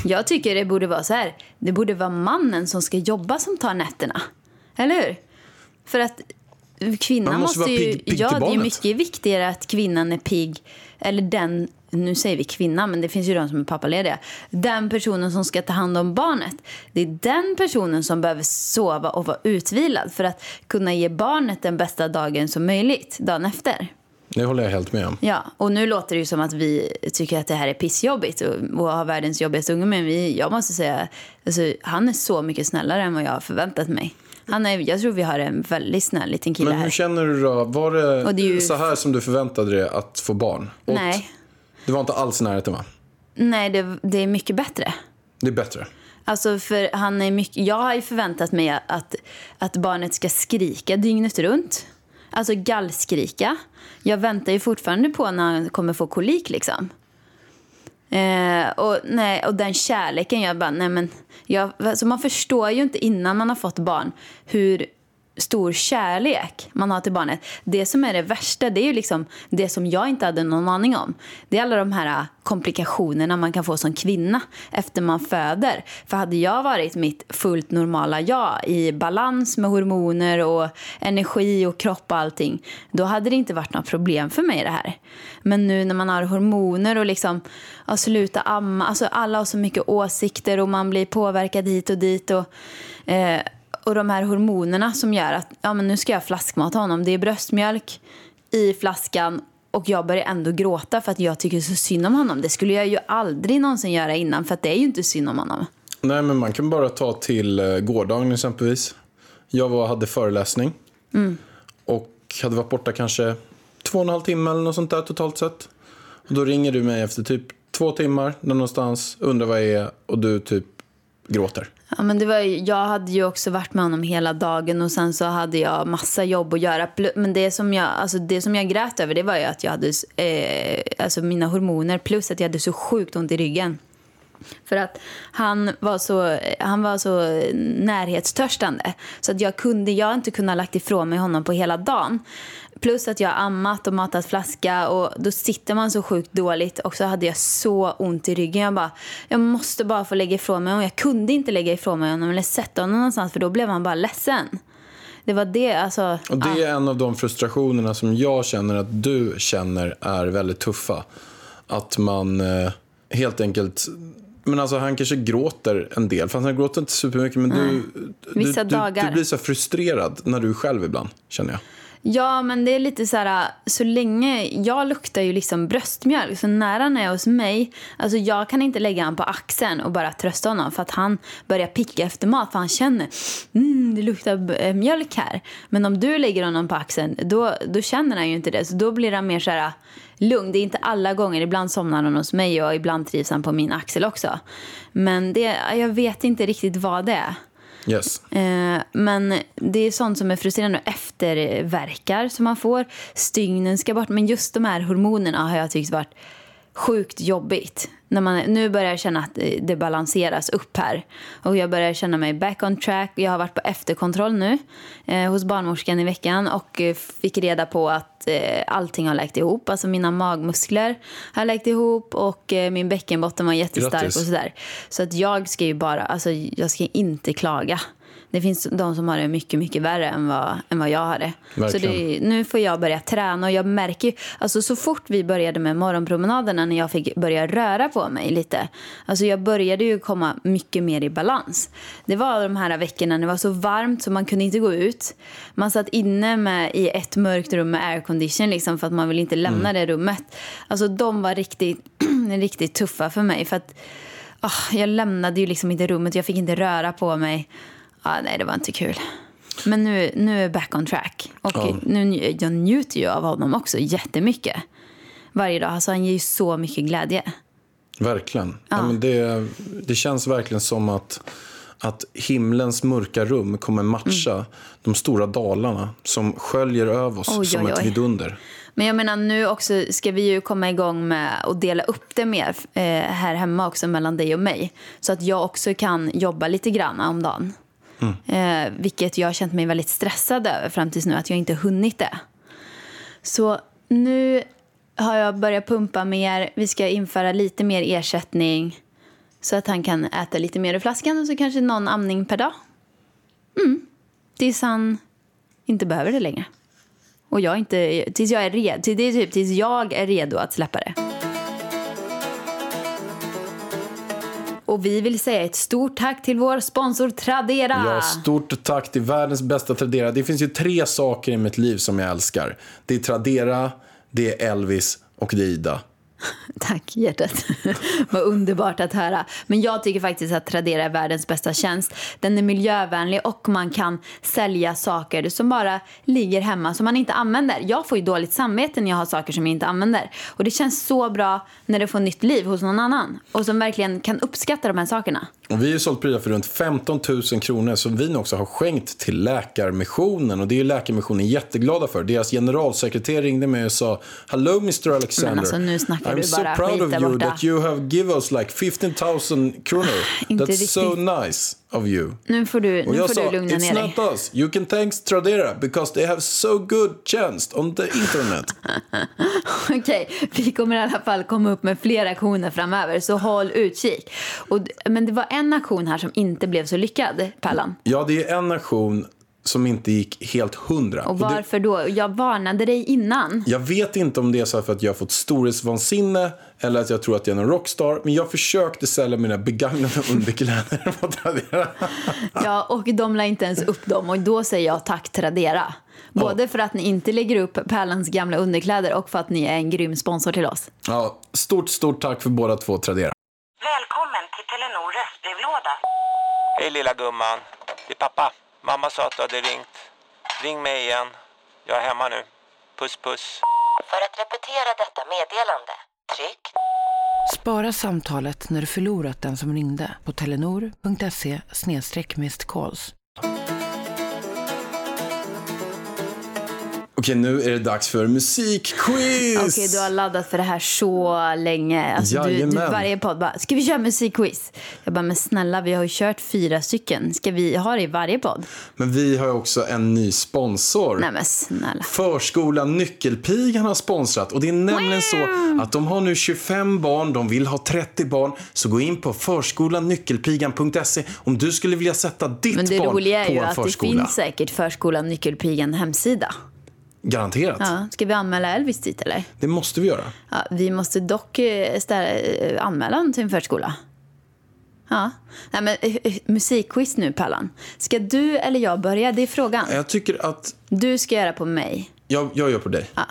[SPEAKER 3] Jag tycker det borde vara så här. Det borde vara mannen som ska jobba som tar nätterna. Eller hur? För att kvinnan
[SPEAKER 2] Man måste
[SPEAKER 3] måste,
[SPEAKER 2] vara
[SPEAKER 3] ju...
[SPEAKER 2] pigg- pigg
[SPEAKER 3] ja,
[SPEAKER 2] till
[SPEAKER 3] det är ju
[SPEAKER 2] barnet.
[SPEAKER 3] mycket viktigare att kvinnan är pigg. Eller den... Nu säger vi kvinna, men det finns ju de som är pappalediga. Den personen som ska ta hand om barnet. Det är den personen som behöver sova och vara utvilad för att kunna ge barnet den bästa dagen som möjligt dagen efter.
[SPEAKER 2] Det håller jag helt med om.
[SPEAKER 3] Ja, och nu låter det ju som att vi tycker att det här är pissjobbigt och, och har världens jobbigaste unge. Men vi, jag måste säga, alltså, han är så mycket snällare än vad jag har förväntat mig. Han är, jag tror vi har en väldigt snäll liten kille
[SPEAKER 2] Men hur
[SPEAKER 3] här.
[SPEAKER 2] känner du då? Var det,
[SPEAKER 3] Och det är ju-
[SPEAKER 2] så här som du förväntade dig att få barn? Och
[SPEAKER 3] Nej,
[SPEAKER 2] Det var inte alls i närheten va?
[SPEAKER 3] nej det, det är mycket bättre.
[SPEAKER 2] Det är bättre.
[SPEAKER 3] Alltså för han är mycket, jag har ju förväntat mig att, att barnet ska skrika dygnet runt. Alltså gallskrika. Jag väntar ju fortfarande på när han kommer få kolik liksom. Eh, och, nej, och den kärleken, jag bara, nej men. Jag, alltså man förstår ju inte innan man har fått barn hur stor kärlek man har till barnet. Det som är det värsta, det är ju liksom det som jag inte hade någon aning om. Det är alla de här ah, komplikationerna man kan få som kvinna efter man föder. För hade jag varit mitt fullt normala jag i balans med hormoner och energi och kropp och allting, då hade det inte varit något problem för mig det här. Men nu när man har hormoner och liksom ja, sluta amma, alltså alla har så mycket åsikter och man blir påverkad hit och dit och, eh, och de här hormonerna som gör att ja, men nu ska jag flaskmata honom. Det är bröstmjölk i flaskan och jag börjar ändå gråta för att jag tycker så synd om honom. Det skulle jag ju aldrig någonsin göra innan för att det är ju inte synd om honom.
[SPEAKER 2] Nej men man kan bara ta till eh, gårdagen exempelvis. Jag var, hade föreläsning.
[SPEAKER 3] Mm.
[SPEAKER 2] Och hade varit borta kanske två och en halv timme eller något sånt där totalt sett. Och då ringer du mig efter typ två timmar där någonstans, undrar vad jag är och du typ gråter.
[SPEAKER 3] Ja, men det var, ju- jag hade ju också varit med honom hela dagen och sen så hade jag massa jobb att göra. Plu- Men det som jag, alltså det som jag grät över det var ju att jag hade eh, alltså mina hormoner plus att jag hade så sjukt ont i ryggen. För att han var så, han var så närhetstörstande. Så att jag kunde, jag har inte kunnat lagt ifrån mig honom på hela dagen. Plus att jag har ammat och matat flaska och då sitter man så sjukt dåligt och så hade jag så ont i ryggen. Jag bara, jag måste bara få lägga ifrån mig honom. Jag kunde inte lägga ifrån mig honom eller sätta honom någonstans för då blev han bara ledsen. Det var det, alltså.
[SPEAKER 2] Och det är en av de frustrationerna som jag känner att du känner är väldigt tuffa. Att man eh, helt enkelt... Men alltså han kanske gråter en del, fast han gråter inte supermycket. Men du,
[SPEAKER 3] Mm. Vissa
[SPEAKER 2] du, du,
[SPEAKER 3] dagar.
[SPEAKER 2] du blir så här frustrerad när du är själv ibland, känner jag.
[SPEAKER 3] Ja, men det är lite så här, så länge, jag luktar ju liksom bröstmjölk, så när han är hos mig, alltså jag kan inte lägga honom på axeln och bara trösta honom för att han börjar picka efter mat för han känner, mm, det luktar eh, mjölk här. Men om du lägger honom på axeln, då, då känner han ju inte det, så då blir han mer så här lugn. Det är inte alla gånger, ibland somnar han hos mig och ibland trivs han på min axel också. Men det, jag vet inte riktigt vad det är.
[SPEAKER 2] Yes.
[SPEAKER 3] Eh, Men det är sånt som är frustrerande. Efterverkar som man får. Stygnen ska bort. Men just de här hormonerna har jag tyckt varit sjukt jobbigt. När man, nu börjar jag känna att eh, det balanseras upp här. Och jag börjar känna mig back on track. Jag har varit på efterkontroll nu eh, hos barnmorskan i veckan och eh, fick reda på att eh, allting har läkt ihop. Alltså mina magmuskler har läkt ihop och eh, min bäckenbotten var jättestark.
[SPEAKER 2] Grattis.
[SPEAKER 3] Och så där. Så att jag ska ju bara, alltså jag ska inte klaga. Det finns de som har det mycket, mycket värre än vad, än vad jag har det. Så
[SPEAKER 2] Verkligen.
[SPEAKER 3] det, nu får jag börja träna och jag märker ju, alltså så fort vi började med morgonpromenaderna när jag fick börja röra på mig lite, alltså jag började ju komma mycket mer i balans. Det var de här veckorna när det var så varmt så man kunde inte gå ut. Man satt inne med, i ett mörkt rum med aircondition liksom för att man ville inte lämna det rummet. Alltså de var riktigt, riktigt tuffa för mig för att Ah, jag lämnade ju liksom inte rummet, jag fick inte röra på mig. Ah, nej, det var inte kul. Men nu, nu är jag back on track. Och
[SPEAKER 2] Ja.
[SPEAKER 3] nu, nj- jag njuter ju av honom också jättemycket. Varje dag. Alltså, han ger ju så mycket glädje.
[SPEAKER 2] Verkligen. Ja.
[SPEAKER 3] Ah.
[SPEAKER 2] men det, det känns verkligen som att, att himlens mörka rum kommer matcha
[SPEAKER 3] Mm.
[SPEAKER 2] de stora dalarna som sköljer över oss
[SPEAKER 3] Oj,
[SPEAKER 2] som
[SPEAKER 3] oj,
[SPEAKER 2] ett
[SPEAKER 3] oj.
[SPEAKER 2] vidunder.
[SPEAKER 3] Men jag menar nu också ska vi ju komma igång med att dela upp det mer eh, här hemma också mellan dig och mig. Så att jag också kan jobba lite grann om dagen. Eh, vilket jag har känt mig väldigt stressad över fram tills nu att jag inte hunnit det. Så nu har jag börjat pumpa mer. Vi ska införa lite mer ersättning så att han kan äta lite mer ur flaskan och så kanske någon amning per dag. Mm. Tills han inte behöver det längre. Och jag är inte, tills jag är redo, till- det är typ tills jag är redo att släppa det. Och vi vill säga ett stort tack till vår sponsor Tradera.
[SPEAKER 2] Ja, stort tack till världens bästa Tradera. Det finns ju tre saker i mitt liv som jag älskar. Det är Tradera, det är Elvis och det är Ida.
[SPEAKER 3] Tack, hjärtat. Vad underbart att höra. Men jag tycker faktiskt att Tradera är världens bästa tjänst. Den är miljövänlig och man kan sälja saker som bara ligger hemma som man inte använder. Jag får ju dåligt samvete när jag har saker som jag inte använder. Och det känns så bra när det får nytt liv hos någon annan och som verkligen kan uppskatta de här sakerna.
[SPEAKER 2] Och vi har ju sålt prylar för runt 15 000 kronor som vi nu också har skänkt till Läkarmissionen. Och det är ju Läkarmissionen jätteglada för. Deras generalsekreterare ringde mig och sa Hello Mr Alexander.
[SPEAKER 3] Men alltså, nu snackar
[SPEAKER 2] I'm
[SPEAKER 3] du
[SPEAKER 2] so
[SPEAKER 3] bara
[SPEAKER 2] proud
[SPEAKER 3] skit
[SPEAKER 2] of
[SPEAKER 3] där
[SPEAKER 2] you
[SPEAKER 3] borta."
[SPEAKER 2] that you have given us like 15 000 kronor.
[SPEAKER 3] Inte
[SPEAKER 2] That's so
[SPEAKER 3] riktigt.
[SPEAKER 2] nice of you.
[SPEAKER 3] Nu får du,
[SPEAKER 2] Och
[SPEAKER 3] nu
[SPEAKER 2] jag
[SPEAKER 3] får
[SPEAKER 2] sa,
[SPEAKER 3] du lugna ner
[SPEAKER 2] it's
[SPEAKER 3] dig.
[SPEAKER 2] not us. You can thanks Tradera because they have so good chance on the internet.
[SPEAKER 3] Okej, vi kommer i alla fall komma upp med fler aktioner framöver, så håll utkik. Och, men det var en aktion här som inte blev så lyckad, Pärlan.
[SPEAKER 2] ja, det är en aktion som inte gick helt hundra.
[SPEAKER 3] Och
[SPEAKER 2] det-
[SPEAKER 3] varför då? Jag varnade dig innan.
[SPEAKER 2] Jag vet inte om det är så här för att jag har fått storhetsvansinne eller att jag tror att jag är någon rockstar. Men jag försökte sälja mina begagnade underkläder på Tradera.
[SPEAKER 3] Ja, och de la inte ens upp dem och då säger jag tack Tradera. Både för att ni inte lägger upp Pärlans gamla underkläder och för att ni är en grym sponsor till oss.
[SPEAKER 2] Ja, stort, stort tack för båda två Tradera.
[SPEAKER 4] Välkommen till Telenor röstbrevlåda.
[SPEAKER 5] Hej lilla gumman. Det är pappa. Mamma sa att du hade ringt. Ring mig igen. Jag är hemma nu. Puss puss.
[SPEAKER 4] För att repetera detta meddelande, tryck
[SPEAKER 6] Spara samtalet när du förlorat den som ringde på telenor.se calls.
[SPEAKER 2] Okej, nu är det dags för musikquiz!
[SPEAKER 3] Okej, du har laddat för det här så länge. Alltså, du, du,
[SPEAKER 2] Jajamän.
[SPEAKER 3] varje podd bara, ska vi köra musikquiz? Jag bara, men snälla, vi har ju kört fyra stycken. Ska vi ha det i varje podd?
[SPEAKER 2] Men vi har ju också en ny sponsor.
[SPEAKER 3] Nej, men snälla.
[SPEAKER 2] Förskolan Nyckelpigan har sponsrat och det är nämligen så att de har nu 25 barn, de vill ha 30 barn. Så gå in på förskolannyckelpigan.se om du skulle vilja sätta ditt
[SPEAKER 3] Men det
[SPEAKER 2] barn
[SPEAKER 3] roliga är
[SPEAKER 2] på
[SPEAKER 3] ju
[SPEAKER 2] en
[SPEAKER 3] att
[SPEAKER 2] förskola.
[SPEAKER 3] det finns säkert Förskolan Nyckelpigan hemsida.
[SPEAKER 2] Garanterat.
[SPEAKER 3] Ja, ska vi anmäla Elvis dit eller?
[SPEAKER 2] Det måste vi göra.
[SPEAKER 3] Ja, vi måste dock eh, ställa eh, anmälan till en förskola. Ja. Nej, men eh, eh, musikquiz nu, Pallan. Ska du eller jag börja? Det är frågan.
[SPEAKER 2] Jag tycker att...
[SPEAKER 3] Du ska göra på mig.
[SPEAKER 2] Jag, jag gör på dig.
[SPEAKER 3] Ja.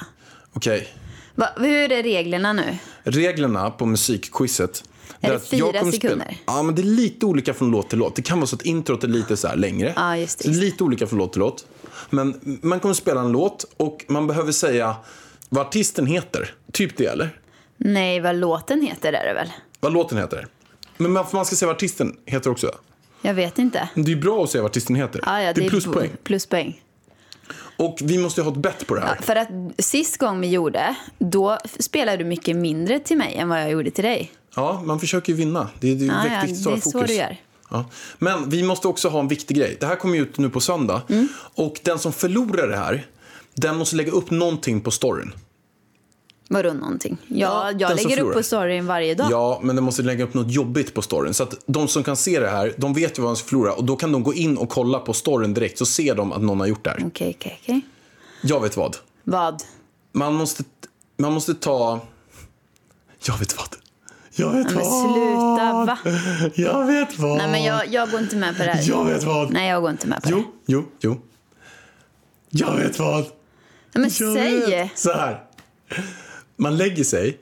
[SPEAKER 2] Okej.
[SPEAKER 3] Va, hur är reglerna nu?
[SPEAKER 2] Reglerna på musikquizet.
[SPEAKER 3] Är
[SPEAKER 2] är
[SPEAKER 3] det
[SPEAKER 2] att jag
[SPEAKER 3] fyra
[SPEAKER 2] kommer spela-
[SPEAKER 3] sekunder?
[SPEAKER 2] Ja, men det är lite olika från låt till låt. Det kan vara så att introt är lite så här längre.
[SPEAKER 3] Ja, just det,
[SPEAKER 2] Så det är
[SPEAKER 3] just
[SPEAKER 2] lite olika från låt till låt. Men man kommer spela en låt och man behöver säga vad artisten heter. Typ det, eller?
[SPEAKER 3] Nej, vad låten heter är det väl?
[SPEAKER 2] Vad låten heter. Men man, man ska säga vad artisten heter också.
[SPEAKER 3] Jag vet inte.
[SPEAKER 2] Men Det är ju bra att säga vad artisten heter.
[SPEAKER 3] Ja, ja,
[SPEAKER 2] det, är pluspoäng.
[SPEAKER 3] bo- Pluspoäng.
[SPEAKER 2] Och vi måste ju ha ett bett på det här.
[SPEAKER 3] För att sist gång vi gjorde, då f- spelade du mycket mindre till mig än vad jag gjorde till dig.
[SPEAKER 2] Ja, man försöker ju vinna. Det, det är ju
[SPEAKER 3] Ja, ja,
[SPEAKER 2] viktigt att
[SPEAKER 3] det
[SPEAKER 2] hålla
[SPEAKER 3] är så
[SPEAKER 2] fokus.
[SPEAKER 3] du gör.
[SPEAKER 2] Ja. Men vi måste också ha en viktig grej. Det här kommer ju ut nu på söndag.
[SPEAKER 3] Mm.
[SPEAKER 2] Och den som förlorar det här, den måste lägga upp någonting på storyn.
[SPEAKER 3] Vadå någonting? Ja,
[SPEAKER 2] Ja, den
[SPEAKER 3] jag
[SPEAKER 2] som
[SPEAKER 3] lägger upp
[SPEAKER 2] förlorar.
[SPEAKER 3] på storyn varje dag.
[SPEAKER 2] Ja, men den måste lägga upp något jobbigt på storyn. Så att de som kan se det här, de vet ju vad de ska förlora. Och då kan de gå in och kolla på storyn direkt. Så ser de att någon har gjort det här.
[SPEAKER 3] Okej, okej, okej.
[SPEAKER 2] Jag vet vad.
[SPEAKER 3] Vad?
[SPEAKER 2] Man måste, man måste ta... Jag vet vad. Jag vet
[SPEAKER 3] Men
[SPEAKER 2] vad.
[SPEAKER 3] sluta, va?
[SPEAKER 2] Jag vet vad.
[SPEAKER 3] Nej, men jag, jag går inte med på det här.
[SPEAKER 2] Jag vet vad.
[SPEAKER 3] Nej, jag går inte med på
[SPEAKER 2] Jo, jo, jo. Jag vet vad.
[SPEAKER 3] det. Men
[SPEAKER 2] Jag
[SPEAKER 3] säg!
[SPEAKER 2] vet. Så här. Man lägger sig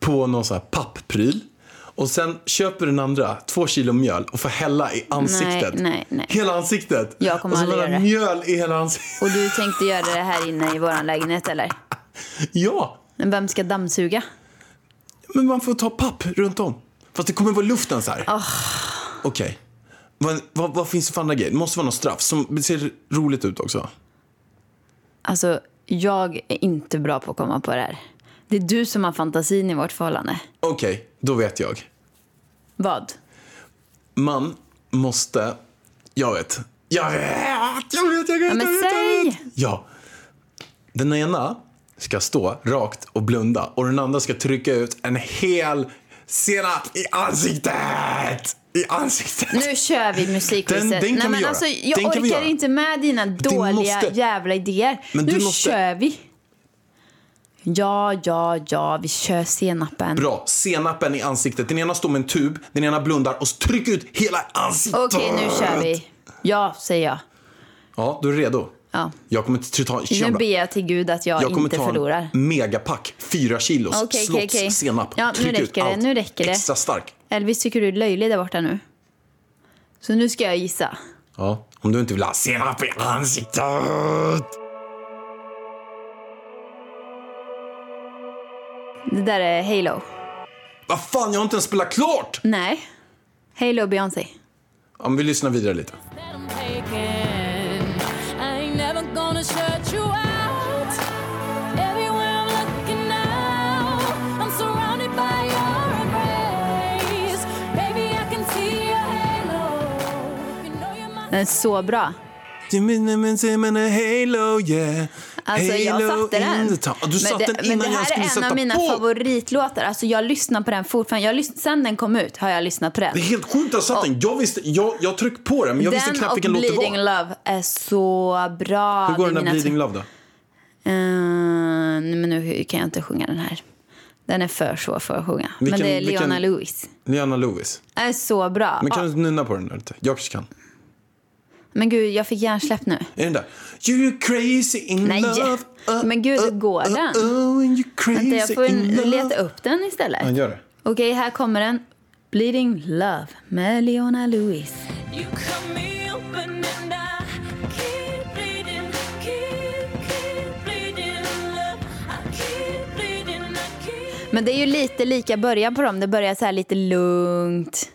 [SPEAKER 2] på någon sån här papppryl och sen köper den andra två kilo mjöl och får hälla i ansiktet.
[SPEAKER 3] nej, nej.
[SPEAKER 2] Hela ansiktet.
[SPEAKER 3] Jag kommer
[SPEAKER 2] och så
[SPEAKER 3] aldrig
[SPEAKER 2] får den
[SPEAKER 3] göra det.
[SPEAKER 2] mjöl i hela ansiktet.
[SPEAKER 3] Och du tänkte göra det här inne i vår lägenhet, eller?
[SPEAKER 2] Ja,
[SPEAKER 3] Men vem ska dammsuga?
[SPEAKER 2] men man får ta papp runt om. Fast det kommer vara luften så här.
[SPEAKER 3] Ah.
[SPEAKER 2] Okej. Vad, vad, vad finns det för andra grejer? Det måste vara något straff som ser roligt ut också.
[SPEAKER 3] Alltså, jag är inte bra på att komma på det här. Det är du som har fantasin i vårt förhållande.
[SPEAKER 2] Okej, då vet jag.
[SPEAKER 3] Vad?
[SPEAKER 2] Man måste... Jag vet. Jag vet, jag vet, jag vet,
[SPEAKER 3] Ja,
[SPEAKER 2] jag
[SPEAKER 3] men
[SPEAKER 2] vet, jag vet.
[SPEAKER 3] säg!
[SPEAKER 2] Ja. Den ena ska stå rakt och blunda och den andra ska trycka ut en hel senap i ansiktet! I ansiktet!
[SPEAKER 3] Nu kör vi musikquizet.
[SPEAKER 2] Den- den kan
[SPEAKER 3] Nej,
[SPEAKER 2] vi
[SPEAKER 3] men
[SPEAKER 2] göra.
[SPEAKER 3] alltså, jag
[SPEAKER 2] Den kan vi
[SPEAKER 3] orkar
[SPEAKER 2] göra.
[SPEAKER 3] inte med dina dåliga
[SPEAKER 2] måste-
[SPEAKER 3] jävla idéer.
[SPEAKER 2] Men du
[SPEAKER 3] nu
[SPEAKER 2] måste-
[SPEAKER 3] kör vi. Ja, ja, ja, vi kör senapen.
[SPEAKER 2] Bra, senapen i ansiktet. Den ena står med en tub, den ena blundar och trycker ut hela ansiktet!
[SPEAKER 3] Okej, nu kör vi. Ja, säger jag.
[SPEAKER 2] Ja, du är redo?
[SPEAKER 3] Ja.
[SPEAKER 2] Jag kommer t- ta...
[SPEAKER 3] Nu
[SPEAKER 2] Jag,
[SPEAKER 3] ber jag till gud att jag,
[SPEAKER 2] jag kommer
[SPEAKER 3] inte
[SPEAKER 2] ta
[SPEAKER 3] förlorar.
[SPEAKER 2] en megapack, fyra kilos,
[SPEAKER 3] Okej, okej,
[SPEAKER 2] slotts,
[SPEAKER 3] okej.
[SPEAKER 2] senap.
[SPEAKER 3] Ja, nu
[SPEAKER 2] Tryck ut
[SPEAKER 3] räcker det,
[SPEAKER 2] allt.
[SPEAKER 3] nu räcker det.
[SPEAKER 2] Extra stark.
[SPEAKER 3] Elvis, tycker du är löjlig där borta nu? Så nu ska jag gissa.
[SPEAKER 2] Ja, om du inte vill ha senap i ansiktet.
[SPEAKER 3] Det där är Halo.
[SPEAKER 2] Vad fan, jag har inte ens spelat klart!
[SPEAKER 3] Nej. Halo Beyoncé.
[SPEAKER 2] Ja, men vi lyssnar vidare lite.
[SPEAKER 7] that I'm taking. I ain't never gonna shut you out. Everywhere I'm looking now, I'm surrounded by your embrace. Baby, I can see your halo. You know you're my
[SPEAKER 3] Den är så bra.
[SPEAKER 2] Halo, yeah.
[SPEAKER 3] Alltså jag
[SPEAKER 2] Halo
[SPEAKER 3] satte
[SPEAKER 2] in
[SPEAKER 3] den.
[SPEAKER 2] the town. Du satte den
[SPEAKER 3] men
[SPEAKER 2] innan
[SPEAKER 3] det
[SPEAKER 2] jag
[SPEAKER 3] här
[SPEAKER 2] skulle
[SPEAKER 3] är en
[SPEAKER 2] sätta
[SPEAKER 3] av mina
[SPEAKER 2] på.
[SPEAKER 3] favoritlåtar. Alltså jag lyssnar på den fortfarande. Jag lys- sen den kom ut har jag lyssnat på den.
[SPEAKER 2] Det är helt sjukt att jag satt den. Jag, visste, jag, jag tryckte på den, men jag visste
[SPEAKER 3] den
[SPEAKER 2] knappt
[SPEAKER 3] och
[SPEAKER 2] vilken låt det
[SPEAKER 3] Bleeding
[SPEAKER 2] var.
[SPEAKER 3] Love är så bra.
[SPEAKER 2] Hur går den
[SPEAKER 3] Det är
[SPEAKER 2] där
[SPEAKER 3] mina-
[SPEAKER 2] Bleeding Love då?
[SPEAKER 3] Eh, nej, men nu kan jag inte sjunga den här. Den är för svår för att sjunga.
[SPEAKER 2] Vilken-
[SPEAKER 3] men det är
[SPEAKER 2] vilken-
[SPEAKER 3] Leona Lewis.
[SPEAKER 2] Liana Lewis.
[SPEAKER 3] Den är så bra.
[SPEAKER 2] Men
[SPEAKER 3] Men,
[SPEAKER 2] kan du nynna på den där lite? Jag kanske kan.
[SPEAKER 3] men gud, jag fick hjärnsläpp nu.
[SPEAKER 2] Är den där? You're crazy in
[SPEAKER 3] Nej.
[SPEAKER 2] love. uh,
[SPEAKER 3] Men gud, hur
[SPEAKER 2] uh,
[SPEAKER 3] går
[SPEAKER 2] uh,
[SPEAKER 3] den?
[SPEAKER 2] Oh, and you're crazy
[SPEAKER 3] Vänta, jag får
[SPEAKER 2] in
[SPEAKER 3] ju
[SPEAKER 2] love.
[SPEAKER 3] leta upp den istället.
[SPEAKER 2] Ja, gör det.
[SPEAKER 3] Okej, här kommer den. Bleeding Love med Leona Lewis.
[SPEAKER 7] You cut me open and I keep bleeding, keep, keep bleeding, love. I keep bleeding, I keep.
[SPEAKER 3] Men det är ju lite lika början på dem. Det börjar så här lite lugnt.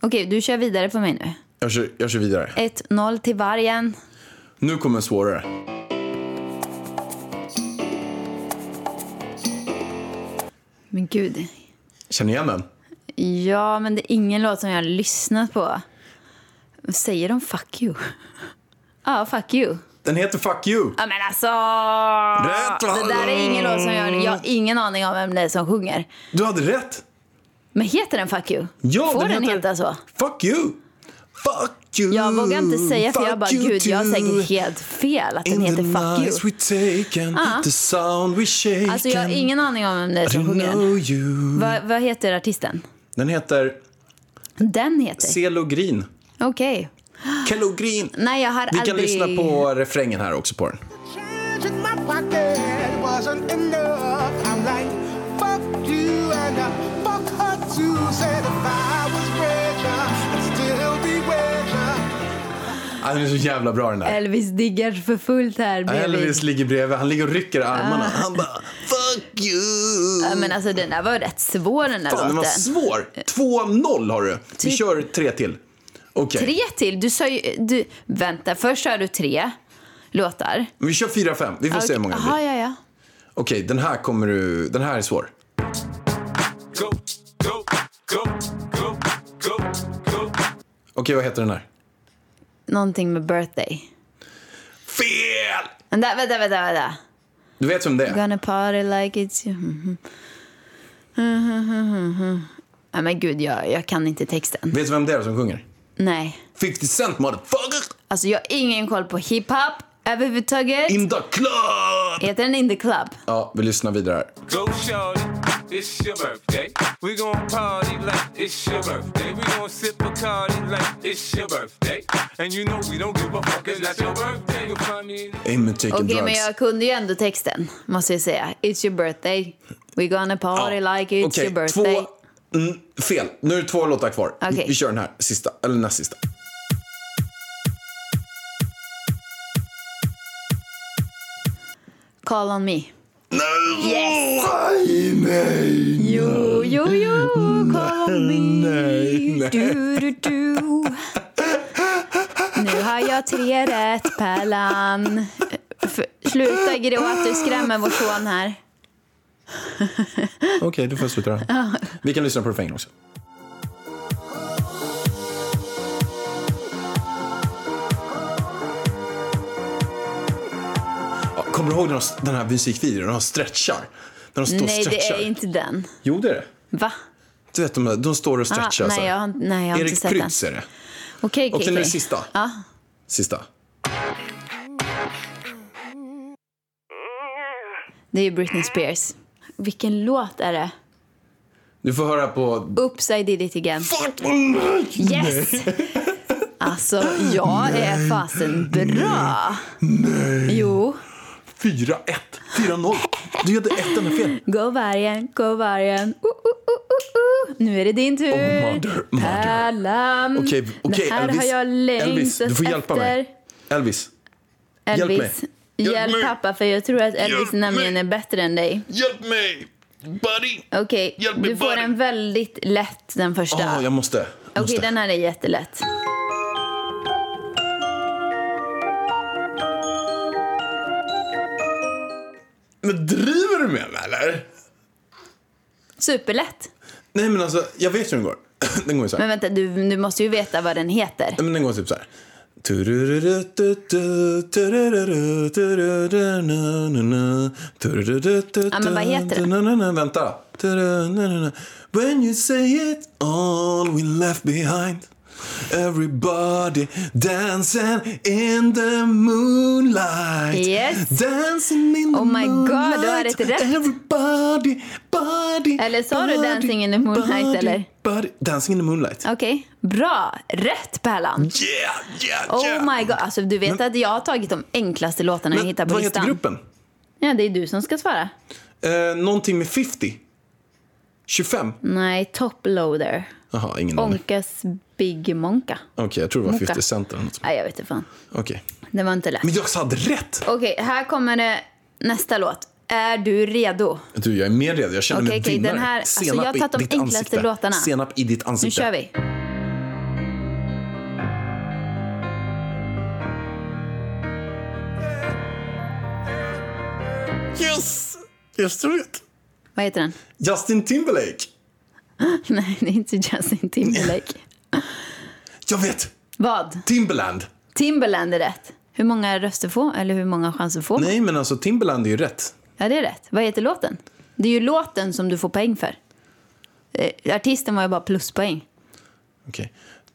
[SPEAKER 3] Okej, du kör vidare på mig nu.
[SPEAKER 2] Jag kör, jag kör vidare.
[SPEAKER 3] 1-0 till vargen.
[SPEAKER 2] Nu kommer en svårare.
[SPEAKER 3] Men gud.
[SPEAKER 2] Känner igen den?
[SPEAKER 3] Ja, men det är ingen låt som jag har lyssnat på. Säger de 'fuck you'? Ja, 'fuck you'.
[SPEAKER 2] Den heter Fuck You.
[SPEAKER 3] Ja, men alltså...
[SPEAKER 2] Rätt, va?
[SPEAKER 3] Det där är ingen låt som jag... Jag har ingen aning om vem det är som sjunger.
[SPEAKER 2] Du hade rätt.
[SPEAKER 3] Men heter den 'fuck you'?
[SPEAKER 2] Ja,
[SPEAKER 3] Får den,
[SPEAKER 2] heter-
[SPEAKER 3] heta så?
[SPEAKER 2] Fuck You. Fuck You.
[SPEAKER 3] Jag vågar inte säga för jag
[SPEAKER 2] Mm, Fuck
[SPEAKER 3] bara,
[SPEAKER 2] you
[SPEAKER 3] gud, jag har
[SPEAKER 2] too.
[SPEAKER 3] säkert helt fel att den
[SPEAKER 2] In
[SPEAKER 3] heter
[SPEAKER 2] the
[SPEAKER 3] Fuck
[SPEAKER 2] nights
[SPEAKER 3] you. Ah.
[SPEAKER 2] we taken, the sound we shaken.
[SPEAKER 3] Alltså jag har ingen aning om vem det är
[SPEAKER 2] I
[SPEAKER 3] som sjunger den.
[SPEAKER 2] know you.
[SPEAKER 3] Vad, vad heter artisten?
[SPEAKER 2] Den heter
[SPEAKER 3] Den heter?
[SPEAKER 2] Celo Green.
[SPEAKER 3] Okej.
[SPEAKER 2] Kello Green.
[SPEAKER 3] Ah. Nej, jag har
[SPEAKER 2] Vi kan
[SPEAKER 3] aldrig...
[SPEAKER 2] lyssna på refrängen här också på den.
[SPEAKER 8] change in my pocket wasn't enough. I'm like, fuck you and I fuck her too. Said if I was richer, I'd still be richer.
[SPEAKER 2] Ah, Den är så jävla bra den där.
[SPEAKER 3] Elvis diggar för fullt här bredvid.
[SPEAKER 2] Elvis ligger bredvid, han ligger och rycker i armarna. Han bara Fuck you!
[SPEAKER 3] Ja, men alltså den där var rätt svår den där
[SPEAKER 2] Fan, den var
[SPEAKER 3] låten.
[SPEAKER 2] svår. 2-0 har du. Vi
[SPEAKER 3] Typ-
[SPEAKER 2] kör tre till. Okej,
[SPEAKER 3] Tre till? Du sa ju... Du, vänta, först hörde du tre låtar.
[SPEAKER 2] men vi kör 4-5. Vi får se hur många det blir.
[SPEAKER 3] Aha, ja, ja.
[SPEAKER 2] Okej, den här kommer du... Den här är svår. Okej, vad heter den här?
[SPEAKER 3] Någonting med birthday.
[SPEAKER 2] Fel!
[SPEAKER 3] Vänta, vänta, vänta. vänta.
[SPEAKER 2] Du vet vem det är?
[SPEAKER 3] Gonna party like it's you. Mhm. Mhm. Ja, men gud, jag, jag kan inte texten.
[SPEAKER 2] Vet du vem det är som sjunger?
[SPEAKER 3] Nej.
[SPEAKER 2] 50 Cent motherfucker!
[SPEAKER 3] Alltså, jag har ingen koll på hiphop överhuvudtaget.
[SPEAKER 2] In the club!
[SPEAKER 3] Heter den In the Club?
[SPEAKER 2] Ja, vi lyssnar vidare här.
[SPEAKER 9] Go shorty, it's your birthday. We gon' party like it's your birthday. We gon' sip a like it's your birthday. And you know we don't give a fuck, it's not your birthday. You'll find me in
[SPEAKER 2] Aim and taking
[SPEAKER 3] Okej, men
[SPEAKER 2] drugs.
[SPEAKER 3] jag kunde ju ändå texten, måste jag säga. It's your birthday. We gonna party
[SPEAKER 2] Ja.
[SPEAKER 3] like it's
[SPEAKER 2] Okej,
[SPEAKER 3] your birthday.
[SPEAKER 2] Två... Mm, fel. Nu är det två låtar kvar.
[SPEAKER 3] Okej.
[SPEAKER 2] Vi kör den här sista, eller näst sista.
[SPEAKER 3] Call on me.
[SPEAKER 2] Nej! Nej, nej!
[SPEAKER 3] Jo, jo, jo, call on me.
[SPEAKER 2] Nej, nej.
[SPEAKER 3] Du, du, du. Nu har jag tre rätt, Pärlan. F- Sluta gråta, du skrämmer vår son här.
[SPEAKER 2] Okej, du får sluta då. Vi kan lyssna på refrängen också. Ja, Kommer du ihåg den här- den här musikvideon? De stretchar. När de står och
[SPEAKER 3] Nej, det
[SPEAKER 2] stretchar.
[SPEAKER 3] är inte den.
[SPEAKER 2] Jo, det är det.
[SPEAKER 3] Va?
[SPEAKER 2] Du vet, de, där- de står och
[SPEAKER 3] Ah,
[SPEAKER 2] stretchar. så
[SPEAKER 3] nej,
[SPEAKER 2] här.
[SPEAKER 3] jag, har- nej, jag har inte
[SPEAKER 2] Erik
[SPEAKER 3] sett den.
[SPEAKER 2] Prytz är det.
[SPEAKER 3] Okej,
[SPEAKER 2] Och
[SPEAKER 3] okej,
[SPEAKER 2] nu är det
[SPEAKER 3] okej.
[SPEAKER 2] sista.
[SPEAKER 3] Ja.
[SPEAKER 2] Sista.
[SPEAKER 3] Det är ju Britney Spears. Vilken låt är det?
[SPEAKER 2] Du får höra på...
[SPEAKER 3] Oops, I did it again. Yes! Alltså, jag är fasen bra. Nej. Jo.
[SPEAKER 2] 4-1. 4-0. Du gjorde ett enda fel.
[SPEAKER 3] Gå vargen, gå vargen. Uh, uh, uh, uh, uh. Nu är det din tur.
[SPEAKER 2] Oh, mother, mother.
[SPEAKER 3] Pärlan.
[SPEAKER 2] Okej, okej,
[SPEAKER 3] det Mm. här
[SPEAKER 2] Elvis.
[SPEAKER 3] har jag längtat
[SPEAKER 2] Elvis, du får hjälpa
[SPEAKER 3] efter.
[SPEAKER 2] mig. Elvis. Hjälp mig.
[SPEAKER 3] Elvis,
[SPEAKER 2] Hjälp
[SPEAKER 3] hjälp,
[SPEAKER 2] mig.
[SPEAKER 3] pappa för jag tror att Elvis
[SPEAKER 2] Hjälp
[SPEAKER 3] nämligen
[SPEAKER 2] mig.
[SPEAKER 3] är bättre än dig.
[SPEAKER 2] Hjälp mig! Buddy!
[SPEAKER 3] Okej,
[SPEAKER 2] Hjälp mig,
[SPEAKER 3] du får
[SPEAKER 2] buddy.
[SPEAKER 3] en väldigt lätt den första.
[SPEAKER 2] Ja, jag måste. Jag
[SPEAKER 3] Okej,
[SPEAKER 2] måste.
[SPEAKER 3] den här är jättelätt.
[SPEAKER 2] Men driver du med mig eller?
[SPEAKER 3] Superlätt.
[SPEAKER 2] Nej men alltså, jag vet hur den går. Den går ju så här.
[SPEAKER 3] Men vänta, du, du måste ju veta vad den heter.
[SPEAKER 2] Nej, men den går typ så här. Ja,
[SPEAKER 3] men vad heter
[SPEAKER 2] den? Vänta. When you say it all we left behind Everybody dancing in the moonlight
[SPEAKER 3] Yes.
[SPEAKER 2] Dancing in the
[SPEAKER 3] Oh my God, du har
[SPEAKER 2] moonlight
[SPEAKER 3] rätt i rätt.
[SPEAKER 2] Everybody, body,
[SPEAKER 3] Eller sa du
[SPEAKER 2] body,
[SPEAKER 3] Dancing in the moonlight,
[SPEAKER 2] body,
[SPEAKER 3] eller?
[SPEAKER 2] Body. Dancing in the moonlight
[SPEAKER 3] Okej, bra. Rätt
[SPEAKER 2] Mm.
[SPEAKER 3] Pärlan.
[SPEAKER 2] Yeah, yeah,
[SPEAKER 3] Oh
[SPEAKER 2] yeah.
[SPEAKER 3] my god. Alltså, du vet att jag har tagit de enklaste låtarna jag hittar på
[SPEAKER 2] vad
[SPEAKER 3] listan.
[SPEAKER 2] heter gruppen?
[SPEAKER 3] Ja, det är du som ska svara.
[SPEAKER 2] Eh, någonting med 50? 25?
[SPEAKER 3] Nej, Toploader.
[SPEAKER 2] Jaha, ingen aning.
[SPEAKER 3] Onkas Big Monka.
[SPEAKER 2] Okej, jag tror det var
[SPEAKER 3] Moka.
[SPEAKER 2] 50 cent eller något.
[SPEAKER 3] Nej, jag vet inte fan.
[SPEAKER 2] Okej.
[SPEAKER 3] Det var inte lätt.
[SPEAKER 2] Men jag hade rätt!
[SPEAKER 3] Okej, här kommer det nästa låt. Är du redo?
[SPEAKER 2] Du, jag är mer redo. Jag känner
[SPEAKER 3] Okej,
[SPEAKER 2] mig
[SPEAKER 3] okej,
[SPEAKER 2] vinnare.
[SPEAKER 3] den här- alltså,
[SPEAKER 2] Senap
[SPEAKER 3] jag har
[SPEAKER 2] i
[SPEAKER 3] tagit de
[SPEAKER 2] ditt
[SPEAKER 3] enklaste
[SPEAKER 2] ansikte.
[SPEAKER 3] låtarna.
[SPEAKER 2] Senap i ditt
[SPEAKER 3] Nu
[SPEAKER 2] ansikte.
[SPEAKER 3] kör vi.
[SPEAKER 2] Yes! Yes, du vet.
[SPEAKER 3] Vad heter den?
[SPEAKER 2] Justin Timberlake.
[SPEAKER 3] Nej, det är inte Justin Timberlake.
[SPEAKER 2] Jag vet!
[SPEAKER 3] Vad?
[SPEAKER 2] Timberland.
[SPEAKER 3] Timberland är rätt. Hur många röster får Eller hur många chanser får man?
[SPEAKER 2] Nej, men alltså Timberland är ju rätt.
[SPEAKER 3] Ja, det är rätt. Vad heter låten? Det är ju låten som du får poäng för. Eh, artisten var ju bara pluspoäng.
[SPEAKER 2] Okej.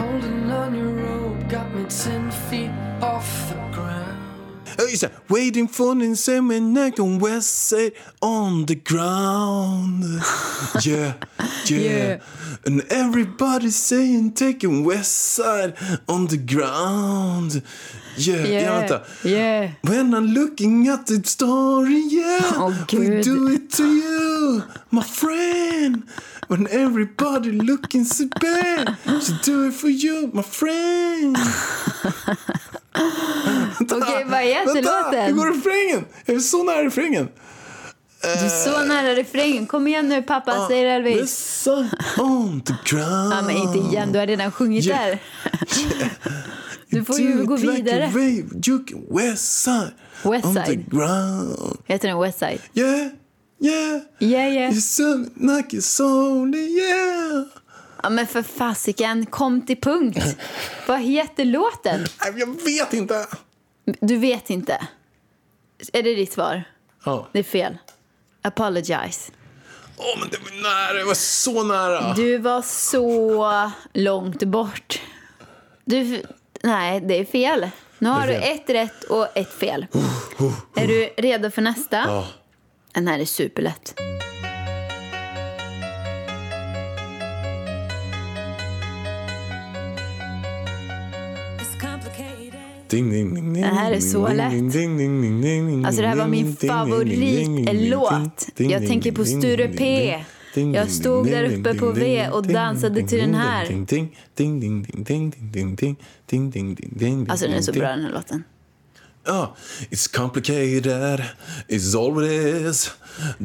[SPEAKER 10] holding on your rope, got me ten feet off the ground.
[SPEAKER 2] Oh, just that. Waiting for the same and I can west side on the ground. Yeah, yeah. And everybody's saying taking west side on the ground. Yeah, ja, vänta.
[SPEAKER 3] yeah.
[SPEAKER 2] When I'm looking at the story, yeah,
[SPEAKER 3] Åh,
[SPEAKER 2] we
[SPEAKER 3] Gud.
[SPEAKER 2] do it to you, my friend. When everybody looking so bad, she do it for you, my friend. Vänta,
[SPEAKER 3] Okej, vad heter låten?
[SPEAKER 2] Hur går refrängen? Jag är så nära refrängen.
[SPEAKER 3] Du är så
[SPEAKER 2] Eh.
[SPEAKER 3] nära refrängen. Kom igen nu, pappa, säger Elvis.
[SPEAKER 2] Listen on the ground.
[SPEAKER 3] Ja, men inte igen. Du har redan sjungit
[SPEAKER 2] Yeah.
[SPEAKER 3] där. Du får
[SPEAKER 2] Do
[SPEAKER 3] ju
[SPEAKER 2] it
[SPEAKER 3] gå
[SPEAKER 2] like a
[SPEAKER 3] vidare.
[SPEAKER 2] wave, you can west side,
[SPEAKER 3] West
[SPEAKER 2] on the
[SPEAKER 3] Side.
[SPEAKER 2] ground.
[SPEAKER 3] Heter den Westside?
[SPEAKER 2] Yeah, yeah.
[SPEAKER 3] Yeah, yeah.
[SPEAKER 2] You sound like it's only yeah.
[SPEAKER 3] Ja, men för fasiken, kom till punkt. Vad heter låten?
[SPEAKER 2] Nej, men Jag vet inte.
[SPEAKER 3] Du vet inte. Är det ditt svar?
[SPEAKER 2] Ja.
[SPEAKER 3] Det är fel. Apologize.
[SPEAKER 2] Åh, men det var nära. Det var så nära.
[SPEAKER 3] Du var så långt bort. Du, nej, det är fel. Nu har
[SPEAKER 2] Det
[SPEAKER 3] du
[SPEAKER 2] är fel.
[SPEAKER 3] ett rätt och ett fel. Är du redo för nästa?
[SPEAKER 2] Ja.
[SPEAKER 3] Den här är superlätt.
[SPEAKER 7] It's complicated.
[SPEAKER 2] Ding, ding, ding, ding,
[SPEAKER 3] Det här är
[SPEAKER 2] ding,
[SPEAKER 3] så
[SPEAKER 2] ding,
[SPEAKER 3] lätt.
[SPEAKER 2] ding, ding, ding, ding, ding, ding,
[SPEAKER 3] Alltså det här var
[SPEAKER 2] ding, ding,
[SPEAKER 3] min
[SPEAKER 2] ding, ding, ding, ding,
[SPEAKER 3] favoritlåt.
[SPEAKER 2] ding,
[SPEAKER 3] Jag
[SPEAKER 2] ding,
[SPEAKER 3] tänker på
[SPEAKER 2] ding,
[SPEAKER 3] Sture
[SPEAKER 2] ding,
[SPEAKER 3] P.
[SPEAKER 2] ding,
[SPEAKER 3] Jag
[SPEAKER 2] ding,
[SPEAKER 3] stod
[SPEAKER 2] ding,
[SPEAKER 3] där
[SPEAKER 2] ding,
[SPEAKER 3] uppe på
[SPEAKER 2] ding,
[SPEAKER 3] V
[SPEAKER 2] ding,
[SPEAKER 3] och
[SPEAKER 2] ding,
[SPEAKER 3] dansade
[SPEAKER 2] ding,
[SPEAKER 3] till den
[SPEAKER 2] ding,
[SPEAKER 3] här.
[SPEAKER 2] ding, ding, ding, ding, ding, ding, ding, ding, ding, ding, ding, ding, ding,
[SPEAKER 3] Alltså den är så
[SPEAKER 2] ding,
[SPEAKER 3] bra
[SPEAKER 2] ding.
[SPEAKER 3] den här låten.
[SPEAKER 2] Ja. It's complicated, it's all it is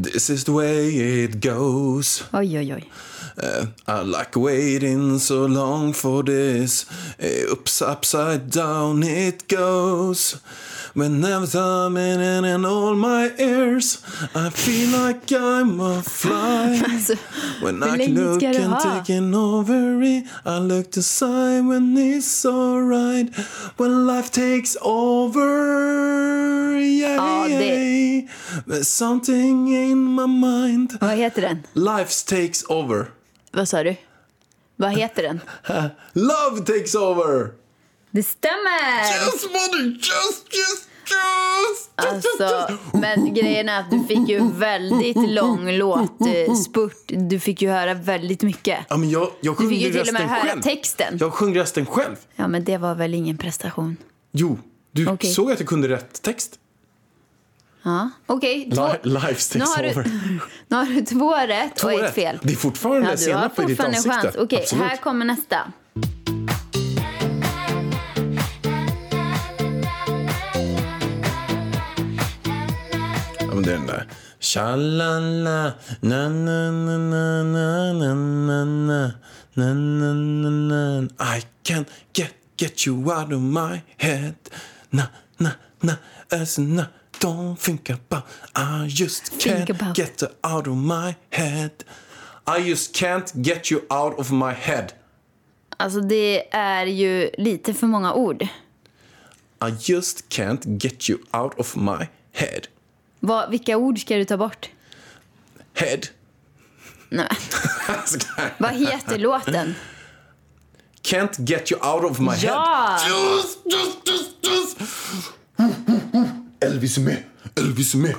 [SPEAKER 2] This is the way it goes
[SPEAKER 3] Oj, oj, oj.
[SPEAKER 2] Eh, I like waiting so long for this. Eh, Ups, upside down it goes. Whenever I'm in and in all my ears I feel like I'm a fly.
[SPEAKER 3] Alltså,
[SPEAKER 2] When
[SPEAKER 3] hur
[SPEAKER 2] I
[SPEAKER 3] länge
[SPEAKER 2] look
[SPEAKER 3] ska du
[SPEAKER 2] and
[SPEAKER 3] ha?
[SPEAKER 2] taking over it I look to sign when it's alright When life takes over Yeah,
[SPEAKER 3] Ja, det-
[SPEAKER 2] yeah. There's something in my mind
[SPEAKER 3] Vad heter den?
[SPEAKER 2] Life takes over
[SPEAKER 3] Vad sa du? Vad heter den?
[SPEAKER 2] Love takes over!
[SPEAKER 3] Det stämmer!
[SPEAKER 2] Yes, mother! Yes, yes, yes!
[SPEAKER 3] Alltså, men grejen är att du fick ju en väldigt lång låtspurt. Du fick ju höra väldigt mycket.
[SPEAKER 2] Ja, men jag, jag sjöng
[SPEAKER 3] fick ju
[SPEAKER 2] ju
[SPEAKER 3] till och
[SPEAKER 2] resten
[SPEAKER 3] med höra
[SPEAKER 2] själv.
[SPEAKER 3] texten.
[SPEAKER 2] Jag sjöng resten själv.
[SPEAKER 3] Ja, men det var väl ingen prestation.
[SPEAKER 2] Jo, du
[SPEAKER 3] Okej.
[SPEAKER 2] såg att jag kunde rätt text.
[SPEAKER 3] Ja, okej. två-
[SPEAKER 2] Li- lives
[SPEAKER 3] nu,
[SPEAKER 2] takes
[SPEAKER 3] har
[SPEAKER 2] over.
[SPEAKER 3] du, nu har du två rätt
[SPEAKER 2] Två
[SPEAKER 3] och ett
[SPEAKER 2] rätt.
[SPEAKER 3] fel.
[SPEAKER 2] Det är fortfarande
[SPEAKER 3] ja, du har
[SPEAKER 2] senap i ditt
[SPEAKER 3] fortfarande en
[SPEAKER 2] ansikte.
[SPEAKER 3] chans. Okej,
[SPEAKER 2] Absolut.
[SPEAKER 3] här kommer nästa.
[SPEAKER 2] Ja, men det är den där. Tjalala, na na na na na na na na na na na na I can get, get you out of my head Na na na as na Don't think about I just
[SPEAKER 3] Think
[SPEAKER 2] can't
[SPEAKER 3] about.
[SPEAKER 2] get you out of my head I just can't get you out of my head
[SPEAKER 3] Alltså, det är ju lite för många ord.
[SPEAKER 2] I just can't get you out of my head
[SPEAKER 3] Vad, vilka ord ska du ta bort?
[SPEAKER 2] Head
[SPEAKER 3] Nej. Vad heter låten?
[SPEAKER 2] Can't get you out of my head
[SPEAKER 3] Ja!
[SPEAKER 2] Just, just, just, just. Elvis är med. Elvis är med.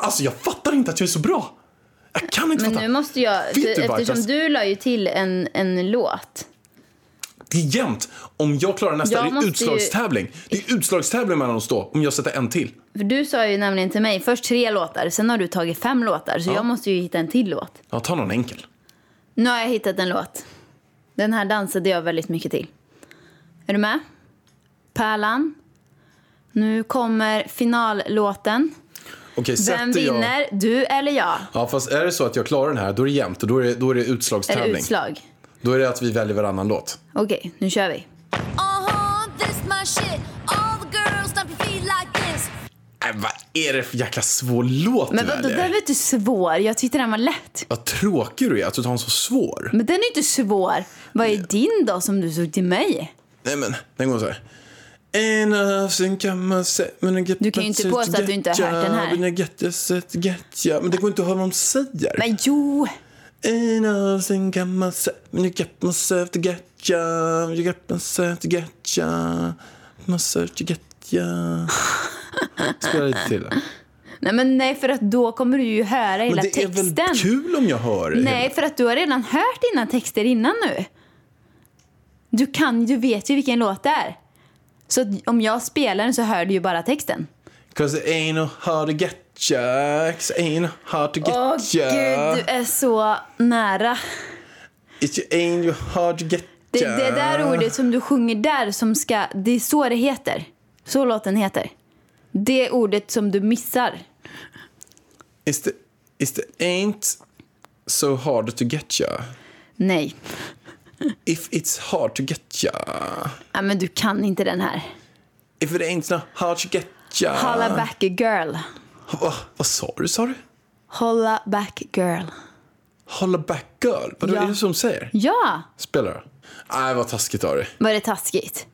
[SPEAKER 2] Alltså jag fattar inte att jag är så bra. Jag kan inte
[SPEAKER 3] Men
[SPEAKER 2] fatta.
[SPEAKER 3] nu måste jag,
[SPEAKER 2] Vet du,
[SPEAKER 3] eftersom
[SPEAKER 2] Bartas?
[SPEAKER 3] du la ju till en, en låt.
[SPEAKER 2] Det är jämnt. Om jag klarar nästa,
[SPEAKER 3] Jag
[SPEAKER 2] det är
[SPEAKER 3] måste ju-
[SPEAKER 2] utslagstävling. Det är utslagstävling mellan oss då, om jag sätter en till.
[SPEAKER 3] För du sa ju nämligen till mig först tre låtar, sen har du tagit fem låtar. Så
[SPEAKER 2] Ja.
[SPEAKER 3] jag måste ju hitta en till låt.
[SPEAKER 2] Ja, ta någon enkel.
[SPEAKER 3] Nu har jag hittat en låt. Den här dansade jag väldigt mycket till. Är du med? Pärlan. Nu kommer finallåten.
[SPEAKER 2] Okej,
[SPEAKER 3] Vem
[SPEAKER 2] sätter jag...
[SPEAKER 3] vinner, du eller jag?
[SPEAKER 2] Ja, fast är det så att jag klarar den här, då är det jämnt och då är det, då är det
[SPEAKER 3] Är det
[SPEAKER 2] utslagstävling.
[SPEAKER 3] utslag?
[SPEAKER 2] Då är det att vi väljer varannan låt.
[SPEAKER 3] Okej, nu kör vi.
[SPEAKER 11] Uh-huh, this my shit. All the girls stomp your feet like this.
[SPEAKER 2] Nej, Äh, vad är det för jäkla svår låt
[SPEAKER 3] Men
[SPEAKER 2] du
[SPEAKER 3] vadå, den
[SPEAKER 2] väljer?
[SPEAKER 3] var inte svår. Jag tyckte den var lätt.
[SPEAKER 2] Vad tråkig du är att du tar en så svår.
[SPEAKER 3] Men den är inte svår. Vad är din då som du såg till mig?
[SPEAKER 2] Nej men, den går så här. En av sin kammar se- men en
[SPEAKER 3] Du kan ju inte påstå att du inte har hört den här.
[SPEAKER 2] Men det går inte att höra vad de säger.
[SPEAKER 3] Men jo!
[SPEAKER 2] En av sin kammar se- men jag get myself to get ya. Jag get myself to get ya. Myself to get ya. Spela lite till. då.
[SPEAKER 3] Nej, men nej, för att då kommer du ju höra
[SPEAKER 2] Men
[SPEAKER 3] hela
[SPEAKER 2] det är
[SPEAKER 3] texten.
[SPEAKER 2] väl kul om jag hör
[SPEAKER 3] Nej, för att du har redan hört dina texter innan nu. Du kan ju, vet ju vilken låt det är. Så att om jag spelar den så hör du ju bara texten.
[SPEAKER 2] Cause it ain't no hard to get ya. 'Cause it ain't no hard to get
[SPEAKER 3] Åh
[SPEAKER 2] ya.
[SPEAKER 3] gud, du är så nära.
[SPEAKER 2] It ain't no hard to get
[SPEAKER 3] Det,
[SPEAKER 2] ya.
[SPEAKER 3] det där ordet som du sjunger där som ska, det är så det heter. Så låten heter. Det ordet som du missar.
[SPEAKER 2] Is the, is the ain't so hard to get ya?
[SPEAKER 3] Nej.
[SPEAKER 2] If it's hard to get ya.
[SPEAKER 3] Ja, men du kan inte den här.
[SPEAKER 2] If it ain't no hard to get ya.
[SPEAKER 3] Holla back girl.
[SPEAKER 2] Va, vad sa du, sa du?
[SPEAKER 3] Holla back girl.
[SPEAKER 2] Holla back girl? Vadå,
[SPEAKER 3] Ja.
[SPEAKER 2] är det som säger?
[SPEAKER 3] Ja!
[SPEAKER 2] Spelar du? Nej, vad taskigt av dig.
[SPEAKER 3] Var det taskigt?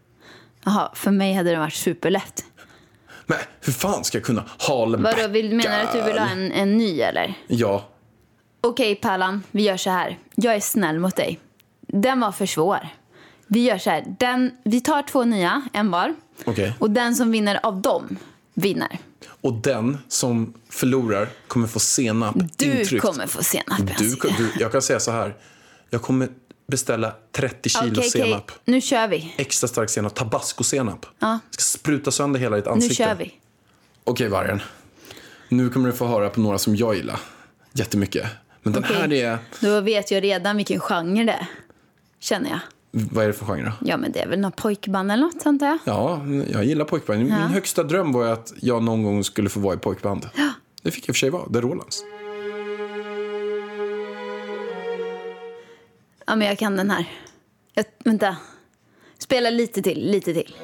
[SPEAKER 3] Jaha, för mig hade det varit superlätt.
[SPEAKER 2] Men hur fan ska jag kunna holla back
[SPEAKER 3] Vadå, vill, menar du att du vill ha
[SPEAKER 2] girl?
[SPEAKER 3] en, en ny eller?
[SPEAKER 2] Ja.
[SPEAKER 3] Okej Pallan, vi gör så här. Jag är snäll mot dig. Den var för svår. Vi gör så här. Den, vi tar två nya, en var.
[SPEAKER 2] Okej.
[SPEAKER 3] Och den som vinner av dem vinner.
[SPEAKER 2] Och den som förlorar kommer få senap
[SPEAKER 3] Du
[SPEAKER 2] intryckt.
[SPEAKER 3] kommer få senap.
[SPEAKER 2] Du, du, jag kan säga så här. Jag kommer beställa 30 kilo
[SPEAKER 3] Okej, okej.
[SPEAKER 2] senap.
[SPEAKER 3] Nu kör vi.
[SPEAKER 2] Extra stark senap. Tabascosenap.
[SPEAKER 3] Ja,
[SPEAKER 2] Ska spruta sönder hela ditt
[SPEAKER 3] nu
[SPEAKER 2] ansikte.
[SPEAKER 3] kör vi.
[SPEAKER 2] Okej, vargen. Nu kommer du få höra på några som jag gillar jättemycket. Men den
[SPEAKER 3] Okej.
[SPEAKER 2] här är...
[SPEAKER 3] Då vet jag redan vilken genre det är. Känner jag.
[SPEAKER 2] Vad är det för genre då?
[SPEAKER 3] Ja, men det är väl något pojkband eller något, antar jag.
[SPEAKER 2] Ja, jag gillar pojkband. Min
[SPEAKER 3] Ja.
[SPEAKER 2] högsta dröm var ju att jag någon gång skulle få vara i pojkband. Det fick jag i och för sig vara. Det är Rolands.
[SPEAKER 3] Ja, men jag kan den här. Jag, vänta. Spela lite till, lite till.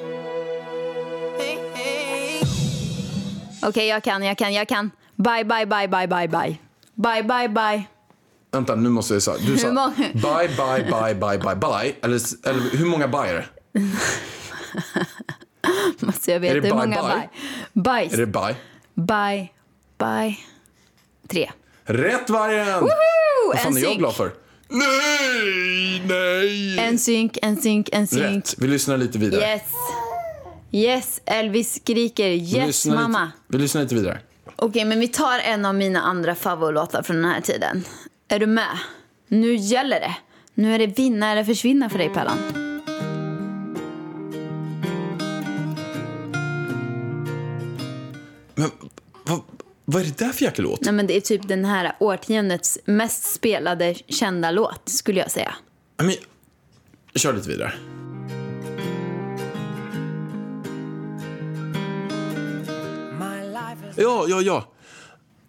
[SPEAKER 3] Okej, jag kan, jag kan, jag kan. Bye, bye, bye, bye, bye, bye. Bye, bye, bye.
[SPEAKER 2] Vänta, nu måste jag säga. Du
[SPEAKER 3] Hur
[SPEAKER 2] sa
[SPEAKER 3] många-
[SPEAKER 2] bye, bye, bye, bye, bye, bye. Eller, eller hur många bye är det?
[SPEAKER 3] Måste jag
[SPEAKER 2] Är
[SPEAKER 3] veta
[SPEAKER 2] det
[SPEAKER 3] hur
[SPEAKER 2] bye,
[SPEAKER 3] många
[SPEAKER 2] bye?
[SPEAKER 3] bye? Bajs.
[SPEAKER 2] Är det bye?
[SPEAKER 3] Bye, bye. Tre. Oh,
[SPEAKER 2] Rätt vargen!
[SPEAKER 3] Woho!
[SPEAKER 2] Vad fan är jag
[SPEAKER 3] NSYNC.
[SPEAKER 2] glad för? Nej, nej!
[SPEAKER 3] En synk, en synk, en synk.
[SPEAKER 2] Rätt. Vi lyssnar lite vidare.
[SPEAKER 3] Yes. Yes, Elvis skriker.
[SPEAKER 2] Vi
[SPEAKER 3] Yes,
[SPEAKER 2] lyssnar
[SPEAKER 3] mamma.
[SPEAKER 2] Lite, vi lyssnar lite vidare.
[SPEAKER 3] Okej, men vi tar en av mina andra favoritlåtar från den här tiden. Är du med? Nu gäller det. Nu är det vinna eller försvinna för dig, Pellan.
[SPEAKER 2] Men vad, vad är det där för jäkla låt?
[SPEAKER 3] Nej, men det är typ den här årtiondets mest spelade kända låt, skulle jag säga.
[SPEAKER 2] Men, kör lite vidare. Ja, ja, ja.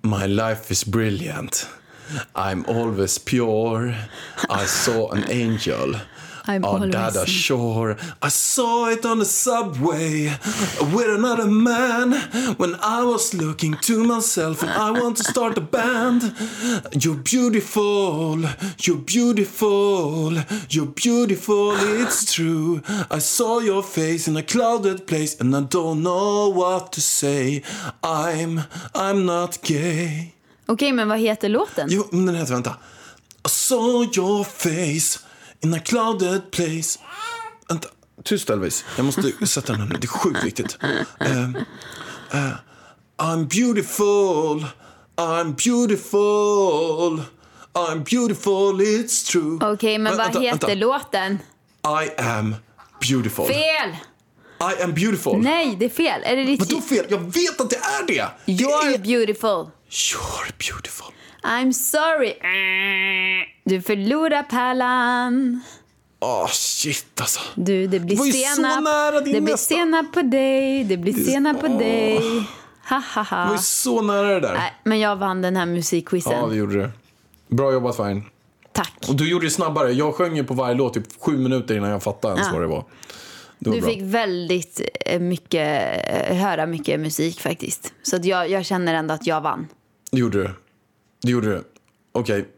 [SPEAKER 2] My life is brilliant. I'm always pure. I saw an angel.
[SPEAKER 3] I'm
[SPEAKER 2] on
[SPEAKER 3] always-
[SPEAKER 2] that shore. I saw it on the subway with another man. When I was looking to myself and I want to start a band. You're beautiful, you're beautiful, you're beautiful, it's true. I saw your face in a clouded place and I don't know what to say. I'm, I'm not gay.
[SPEAKER 3] Okej, men vad heter låten?
[SPEAKER 2] Jo, men den heter, vänta. I saw your face in a clouded place. Vänta, tyst Elvis. Jag måste sätta den här nu. Det är sjukt viktigt. Ehm, eh, I'm beautiful, I'm beautiful, I'm beautiful, it's true.
[SPEAKER 3] Okej, men
[SPEAKER 2] Vä-
[SPEAKER 3] vad
[SPEAKER 2] vänta,
[SPEAKER 3] heter
[SPEAKER 2] vänta.
[SPEAKER 3] låten?
[SPEAKER 2] I am beautiful.
[SPEAKER 3] Fel!
[SPEAKER 2] I am beautiful.
[SPEAKER 3] Nej, det är fel. Är det ditt...
[SPEAKER 2] Vadå fel? Jag vet att det är det!
[SPEAKER 3] You're beautiful.
[SPEAKER 2] You're beautiful.
[SPEAKER 3] I'm sorry. Du förlorar pärlan.
[SPEAKER 2] Åh, shit alltså.
[SPEAKER 3] Du, det
[SPEAKER 2] Det
[SPEAKER 3] blir
[SPEAKER 2] var ju så
[SPEAKER 3] senap.
[SPEAKER 2] nära din
[SPEAKER 3] det blir
[SPEAKER 2] nästa.
[SPEAKER 3] senap på dig. Det blir senap på
[SPEAKER 2] Åh.
[SPEAKER 3] dig. Ha, ha,
[SPEAKER 2] Det var
[SPEAKER 3] ha.
[SPEAKER 2] ju så nära det där.
[SPEAKER 3] Nej, men jag vann den här musikquizen.
[SPEAKER 2] Ja, det gjorde du. Bra jobbat Fine.
[SPEAKER 3] Tack.
[SPEAKER 2] Och du gjorde det snabbare. Jag sjöng ju på varje låt typ sju minuter innan jag fattade ens
[SPEAKER 3] Ja.
[SPEAKER 2] vad det var. Det var
[SPEAKER 3] Du
[SPEAKER 2] bra.
[SPEAKER 3] fick väldigt eh, mycket, eh, höra mycket musik faktiskt. Så att jag, jag känner ändå att jag vann.
[SPEAKER 2] Det gjorde du. Det gjorde du. Okej.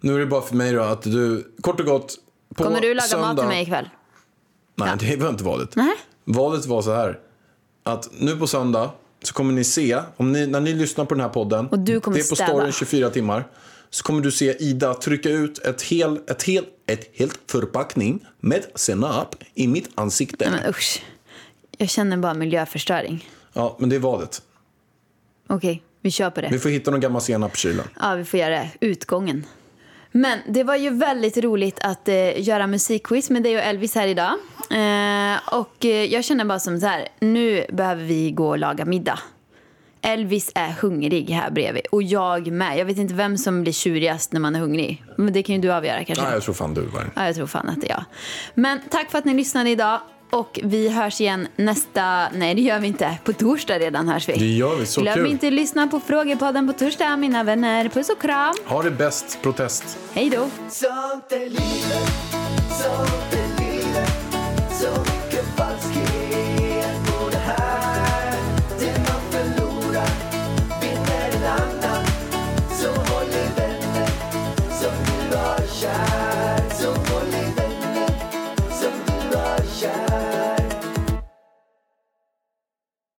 [SPEAKER 2] Nu är det bara för mig då att du, kort och gott, på
[SPEAKER 3] Kommer du laga
[SPEAKER 2] söndag...
[SPEAKER 3] mat till mig ikväll?
[SPEAKER 2] Nej, det var inte valet.
[SPEAKER 3] Nej.
[SPEAKER 2] Valet var så här. Att nu på söndag så kommer ni se, om ni, när ni lyssnar på den här podden.
[SPEAKER 3] Och du kommer
[SPEAKER 2] det är på
[SPEAKER 3] städa.
[SPEAKER 2] storyn 24 timmar. Så kommer du se Ida trycka ut ett hel, ett hel, ett helt förpackning med senap i mitt ansikte.
[SPEAKER 3] Men usch. Jag känner bara miljöförstöring.
[SPEAKER 2] Ja, men det är valet.
[SPEAKER 3] Okej, vi kör på det.
[SPEAKER 2] Vi får hitta någon gammal senap i kylen.
[SPEAKER 3] Ja, vi får göra det. Utgången. Men det var ju väldigt roligt att eh, göra musikquiz med dig och Elvis här idag. Eh, och eh, jag känner bara som så här, nu behöver vi gå och laga middag. Elvis är hungrig här bredvid och jag med. Jag vet inte vem som blir tjurigast när man är hungrig. Men det kan ju du avgöra kanske.
[SPEAKER 2] Ja, jag tror fan du var
[SPEAKER 3] Ja, jag tror fan att det är jag. Men tack för att ni lyssnade idag. Och vi hörs igen nästa... Nej, det gör vi inte. På torsdag redan hörs vi.
[SPEAKER 2] Det gör vi, så
[SPEAKER 3] Glöm
[SPEAKER 2] kul.
[SPEAKER 3] inte att lyssna på Frågepodden på torsdag, mina vänner. Puss och kram.
[SPEAKER 2] Ha det bäst, protest.
[SPEAKER 3] Hej då.
[SPEAKER 1] Sånt är livet, sånt är livet, sånt